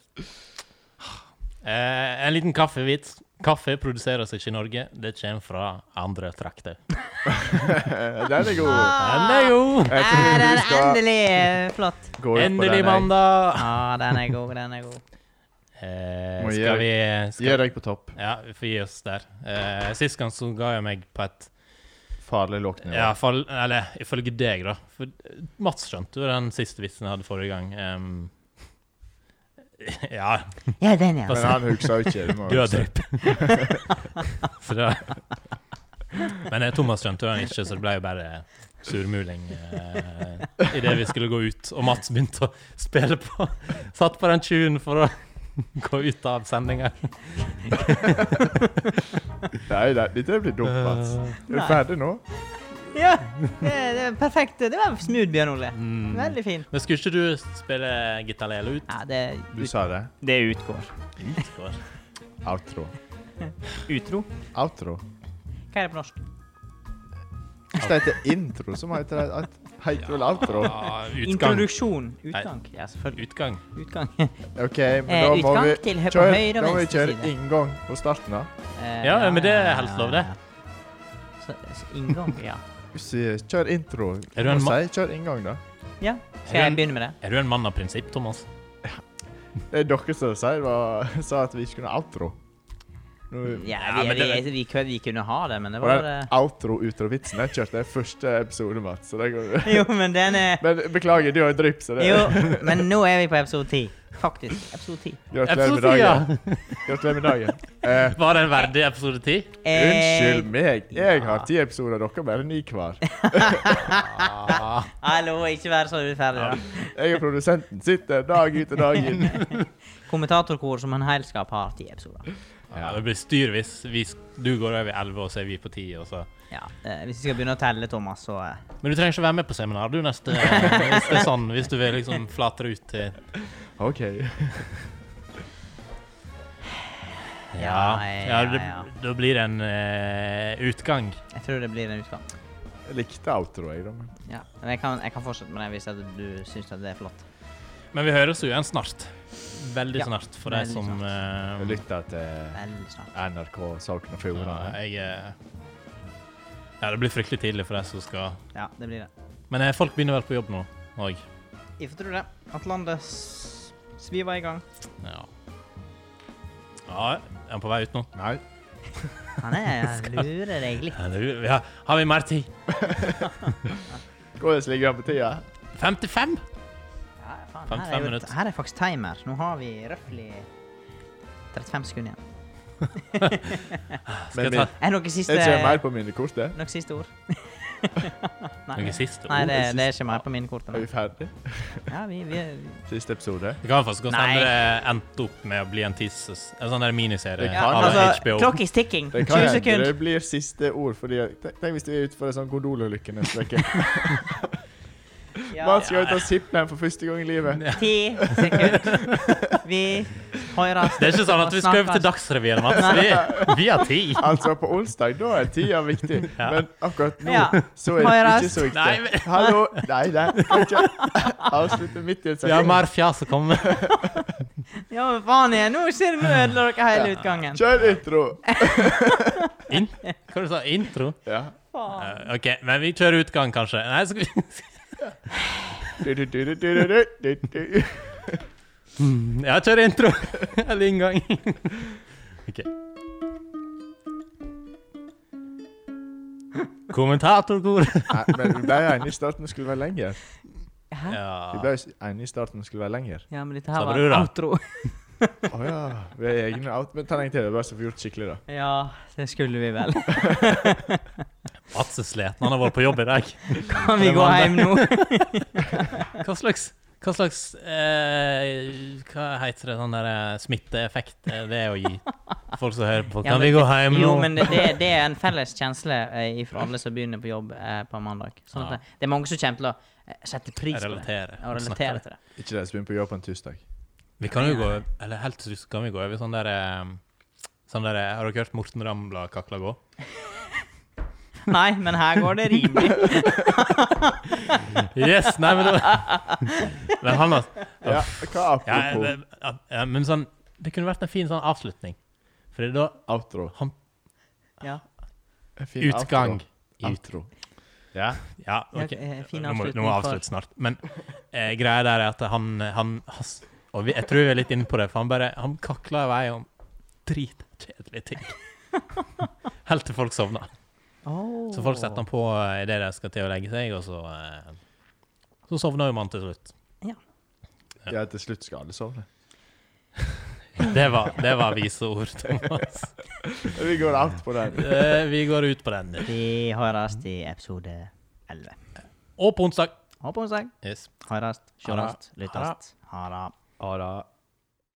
Speaker 1: Eh, en liten kaffevits. Kaffe produseres ikke i Norge. Det kommer fra andre trakter.
Speaker 2: Den er god.
Speaker 1: Den er god!
Speaker 2: Jeg
Speaker 3: Ja,
Speaker 2: tror
Speaker 3: den
Speaker 2: du
Speaker 3: er
Speaker 2: skal
Speaker 3: Ah. endelig eh, flott.
Speaker 2: gå ut på
Speaker 1: Endelig
Speaker 2: den. jeg.
Speaker 1: mandag!
Speaker 3: Ja, den er god, den er god.
Speaker 1: Eh,
Speaker 2: Må gi
Speaker 1: skal
Speaker 2: deg-
Speaker 1: vi
Speaker 2: Gi
Speaker 1: skal,
Speaker 2: deg på topp.
Speaker 1: Ja, vi får gi oss der. Eh, sist gang så ga jeg meg på et
Speaker 2: Farlig lågt nivå.
Speaker 1: Ja, fall, eller ifølge deg, da. For eh, Mats skjønte jo den siste vitsen jeg hadde forrige gang. Em, ja,
Speaker 3: Ja, den, ja.
Speaker 2: Men han husker jo ikke. Du må
Speaker 1: altså. du har
Speaker 2: huske.
Speaker 1: drypp. så det Men eh, Thomas skjønte jo den ikke, så det ble jo bare surmuling eh, idet vi skulle gå ut. Og Mats begynte å spille på Satt på den tjuven for å gå ut av sendinga.
Speaker 2: Nei, nei, dette blir
Speaker 1: Eh.
Speaker 2: dumt, Mats. Er du
Speaker 3: Nei.
Speaker 2: ferdig nå?
Speaker 3: ja det, det er perfekt. Det var smooth, Bjørn Ole.
Speaker 1: Mm.
Speaker 3: Veldig fin.
Speaker 1: Men skulle ikke du spille gitarlele ut?
Speaker 3: Ja, det,
Speaker 2: Du sa det.
Speaker 3: det utgår.
Speaker 1: Skår.
Speaker 2: Outro.
Speaker 3: Utro?
Speaker 2: Outro.
Speaker 3: Hva er det på norsk?
Speaker 2: Hvis det heter intro, så må det hete det- heter vel outro.
Speaker 1: Ja, utgang.
Speaker 3: Introduksjon. Utgang. Ja, selvfølgelig.
Speaker 1: Utgang.
Speaker 3: Utgang.
Speaker 2: OK, men
Speaker 3: Eh,
Speaker 2: da må
Speaker 3: utgang
Speaker 2: vi
Speaker 3: til hø- på
Speaker 2: kjøre,
Speaker 3: høyre og
Speaker 2: da må vi
Speaker 3: venstre
Speaker 2: kjøre
Speaker 3: side.
Speaker 2: inngang på starten, da.
Speaker 3: Eh,
Speaker 1: Ja, men det er helt lov, det.
Speaker 3: Så, så inngang, ja.
Speaker 2: Hvis vi Kjør intro.
Speaker 1: Er du en
Speaker 2: Må
Speaker 1: ma-
Speaker 2: si, kjør inngang, da.
Speaker 3: Ja, Skal jeg begynne med det?
Speaker 1: Er du en mann av prinsipp, Thomas?
Speaker 2: Det er dere som sier, var, sa at vi ikke kunne ha outro. Nå-
Speaker 3: Ja,
Speaker 1: Ja,
Speaker 3: vi,
Speaker 1: men
Speaker 3: vi,
Speaker 1: det-
Speaker 3: vi, kunne- vi kunne ha det, men det var eh,
Speaker 2: Og
Speaker 3: bare
Speaker 2: den outro-utro-vitsen jeg kjørte i første episode, Mats. Så det går
Speaker 3: Jo, men den er
Speaker 2: Men beklager, du har jo drypp, så det
Speaker 3: Jo, men nå er vi på episode 10. Faktisk. Episode 10.
Speaker 2: Gratulerer med
Speaker 1: Episode 10,
Speaker 2: dagen.
Speaker 1: ja!
Speaker 2: Gratulerer med dagen. Eh,
Speaker 1: Var det en verdig episode 10?
Speaker 2: unnskyld
Speaker 3: Eh,
Speaker 2: meg, jeg
Speaker 3: ja.
Speaker 2: har ti episoder, dere har bare ni hver.
Speaker 1: Ah,
Speaker 3: Hallo, ikke vær så urettferdig, da.
Speaker 2: Jeg er produsenten, sitter dag ut og dag inn.
Speaker 3: Kommentatorkor som en helskap har ti episoder.
Speaker 1: ja, det blir styr hvis vi, sk- du går over 11, og så er vi på 10. Og så.
Speaker 3: Ja, eh, Hvis vi skal begynne å telle, Thomas, så eh,
Speaker 1: Men du trenger ikke være med på seminar du neste hvis det er sånn, hvis du vil liksom flate det ut til
Speaker 2: OK.
Speaker 1: Ja,
Speaker 3: Ja, ja,
Speaker 1: ja, det,
Speaker 3: ja.
Speaker 1: da blir det en eh, utgang.
Speaker 3: jeg tror det blir en utgang.
Speaker 2: Jeg likte outro, jeg, da. men-
Speaker 3: Ja, men jeg kan, jeg kan fortsette med det hvis at du syns at det er flott.
Speaker 1: Men vi høres jo igjen snart. Veldig
Speaker 3: Ja,
Speaker 1: snart, for de
Speaker 3: veldig
Speaker 1: som eh,
Speaker 2: Jeg lytter til
Speaker 3: Veldig snart.
Speaker 2: NRK Sogn og
Speaker 1: ja,
Speaker 2: Fjordane.
Speaker 1: jeg, eh, ja, det blir fryktelig tidlig for de som skal
Speaker 3: Ja, det blir det.
Speaker 1: Men eh, folk begynner vel på jobb nå òg.
Speaker 3: Jeg får tro det. Atlantet s- sviver i gang.
Speaker 1: Ja. ja. Er han på vei ut nå?
Speaker 2: Nei.
Speaker 3: Han er han lurer deg litt.
Speaker 1: Ja, det- Ja, har vi mer tid?
Speaker 2: Hvordan ligger han på tida?
Speaker 1: 55?
Speaker 3: Ja, faen,
Speaker 1: Fem-
Speaker 3: her,
Speaker 1: fem
Speaker 3: er jo,
Speaker 1: minutter.
Speaker 3: her er faktisk timer. Nå har vi røftlig 35 sekunder igjen.
Speaker 1: Skal jeg ta
Speaker 2: Men
Speaker 3: Er det noe
Speaker 2: Er ikke jeg mer
Speaker 3: siste,
Speaker 2: på minnekortet?
Speaker 3: noe siste ord?
Speaker 1: noe siste
Speaker 3: Nei,
Speaker 1: ord?
Speaker 3: det, det er ikke mer på mine kort.
Speaker 2: Er vi
Speaker 3: ennå.
Speaker 2: ferdig?
Speaker 3: Ja, vi, vi,
Speaker 2: Siste episode?
Speaker 1: Det kan faktisk godt
Speaker 3: Nei.
Speaker 1: hende det endte opp med å bli en tisses. En sånn der miniserie
Speaker 2: Det
Speaker 3: ja,
Speaker 2: kan
Speaker 1: av
Speaker 3: altså,
Speaker 1: HBO.
Speaker 3: Clock is ticking.
Speaker 2: Det kan
Speaker 3: 20
Speaker 2: hende
Speaker 3: sekunder.
Speaker 2: det blir siste ord, fordi jeg- tenk- Tenk hvis vi er ute for en sånn gondolulykke neste uke.
Speaker 3: Ja,
Speaker 2: Mats skal ut og sippe for første gang i livet.
Speaker 3: 10 sekunder. Vi høres.
Speaker 1: Det er ikke sånn at vi skal over til Dagsrevyen, Mats. Vi, vi har tid.
Speaker 2: Altså, på onsdag, da er tida viktig, men akkurat nå
Speaker 3: Ja.
Speaker 2: så er det
Speaker 3: Høyrast.
Speaker 2: ikke så viktig.
Speaker 1: Nei, men-
Speaker 2: Hallo! Nei, nei, kan ikke avslutte midt i en
Speaker 1: Vi har
Speaker 2: setning.
Speaker 1: mer fjas å komme med.
Speaker 3: Ja, men faen igjen. Nå ser vi ødela dere hele utgangen.
Speaker 2: Kjør intro!
Speaker 1: In Hva du sa du? Intro?
Speaker 2: Ja.
Speaker 3: Faen.
Speaker 1: Eh, OK, men vi kjører utgang, kanskje. Nei, skal vi
Speaker 2: Du, du, du, du, du, du, du, du.
Speaker 1: Ja, kjør intro. Eller inngang. OK. Kommentatorkor.
Speaker 2: Nei, men vi ble enige i starten det skulle være lenger.
Speaker 3: Hæ?
Speaker 2: Vi
Speaker 1: Ja.
Speaker 2: ble enige i starten det skulle være lenger.
Speaker 3: Ja, men dette
Speaker 1: Sa
Speaker 3: her var
Speaker 1: brura.
Speaker 3: outro.
Speaker 2: Å ja. Vi er egne out... Men ta en gang til, det er bare så vi får gjort skikkelig, da.
Speaker 3: Ja, det skulle vi vel.
Speaker 1: Mats er sliten. Han har vært på jobb i dag.
Speaker 3: Kan vi gå hjem nå?
Speaker 1: Hva slags hva slags eh, Hva heter det sånn der eh, smitteeffekt eh, det er å gi folk som hører på?
Speaker 3: Ja,
Speaker 1: Kan
Speaker 3: men-
Speaker 1: vi gå hjem nå?
Speaker 3: Jo, men det, det, det er en felles kjensle eh, fra alle som begynner på jobb eh, på mandag. Sånn at
Speaker 1: Ja.
Speaker 3: det, det er mange som kommer til å eh, sette pris på det.
Speaker 1: Relatere.
Speaker 3: Og relatere til det.
Speaker 2: Ikke det, så begynner på jobb på en tirsdag.
Speaker 1: Vi kan jo gå Eller helt til slutt kan vi gå over sånn der eh, Sånn der eh, Har dere hørt Morten Ramla kakla gå?
Speaker 3: Nei, men her går det rimelig.
Speaker 1: Yes! Nei, men da Men han har
Speaker 2: Ja, hva
Speaker 1: ja,
Speaker 2: apropos
Speaker 1: men- ja, Men sånn Det kunne vært en fin sånn avslutning. Fordi da
Speaker 2: outro?
Speaker 1: han,
Speaker 3: Ja.
Speaker 2: En fin
Speaker 1: Utgang. Ut,
Speaker 2: Outro. outro. Ja.
Speaker 1: ja,
Speaker 3: Ja,
Speaker 1: OK.
Speaker 3: eh, fin
Speaker 1: Nå må nå
Speaker 3: avslutning
Speaker 1: må jeg
Speaker 3: for-
Speaker 1: avslutte snart. Men eh, greia der er at han, han has- Og vi, jeg tror vi er litt inne på det, for han bare Han kakla i vei om dritkjedelige ting. Helt til folk sovna.
Speaker 3: Oh.
Speaker 1: Så folk setter han på eh, idet de skal til å legge seg, og så eh, Så sovner jo man til slutt.
Speaker 2: ja, til slutt skal alle sovne.
Speaker 1: Det var, det var vise ord, Thomas.
Speaker 2: Vi går out på den.
Speaker 1: Eh, Vi går ut på den.
Speaker 3: Vi høres i episode 11.
Speaker 1: Og på onsdag.
Speaker 3: Ha på onsdag.
Speaker 1: Yes.
Speaker 3: Høres,
Speaker 1: Ha det.
Speaker 3: sjåast, lyttast. Ha det.
Speaker 2: Ha det.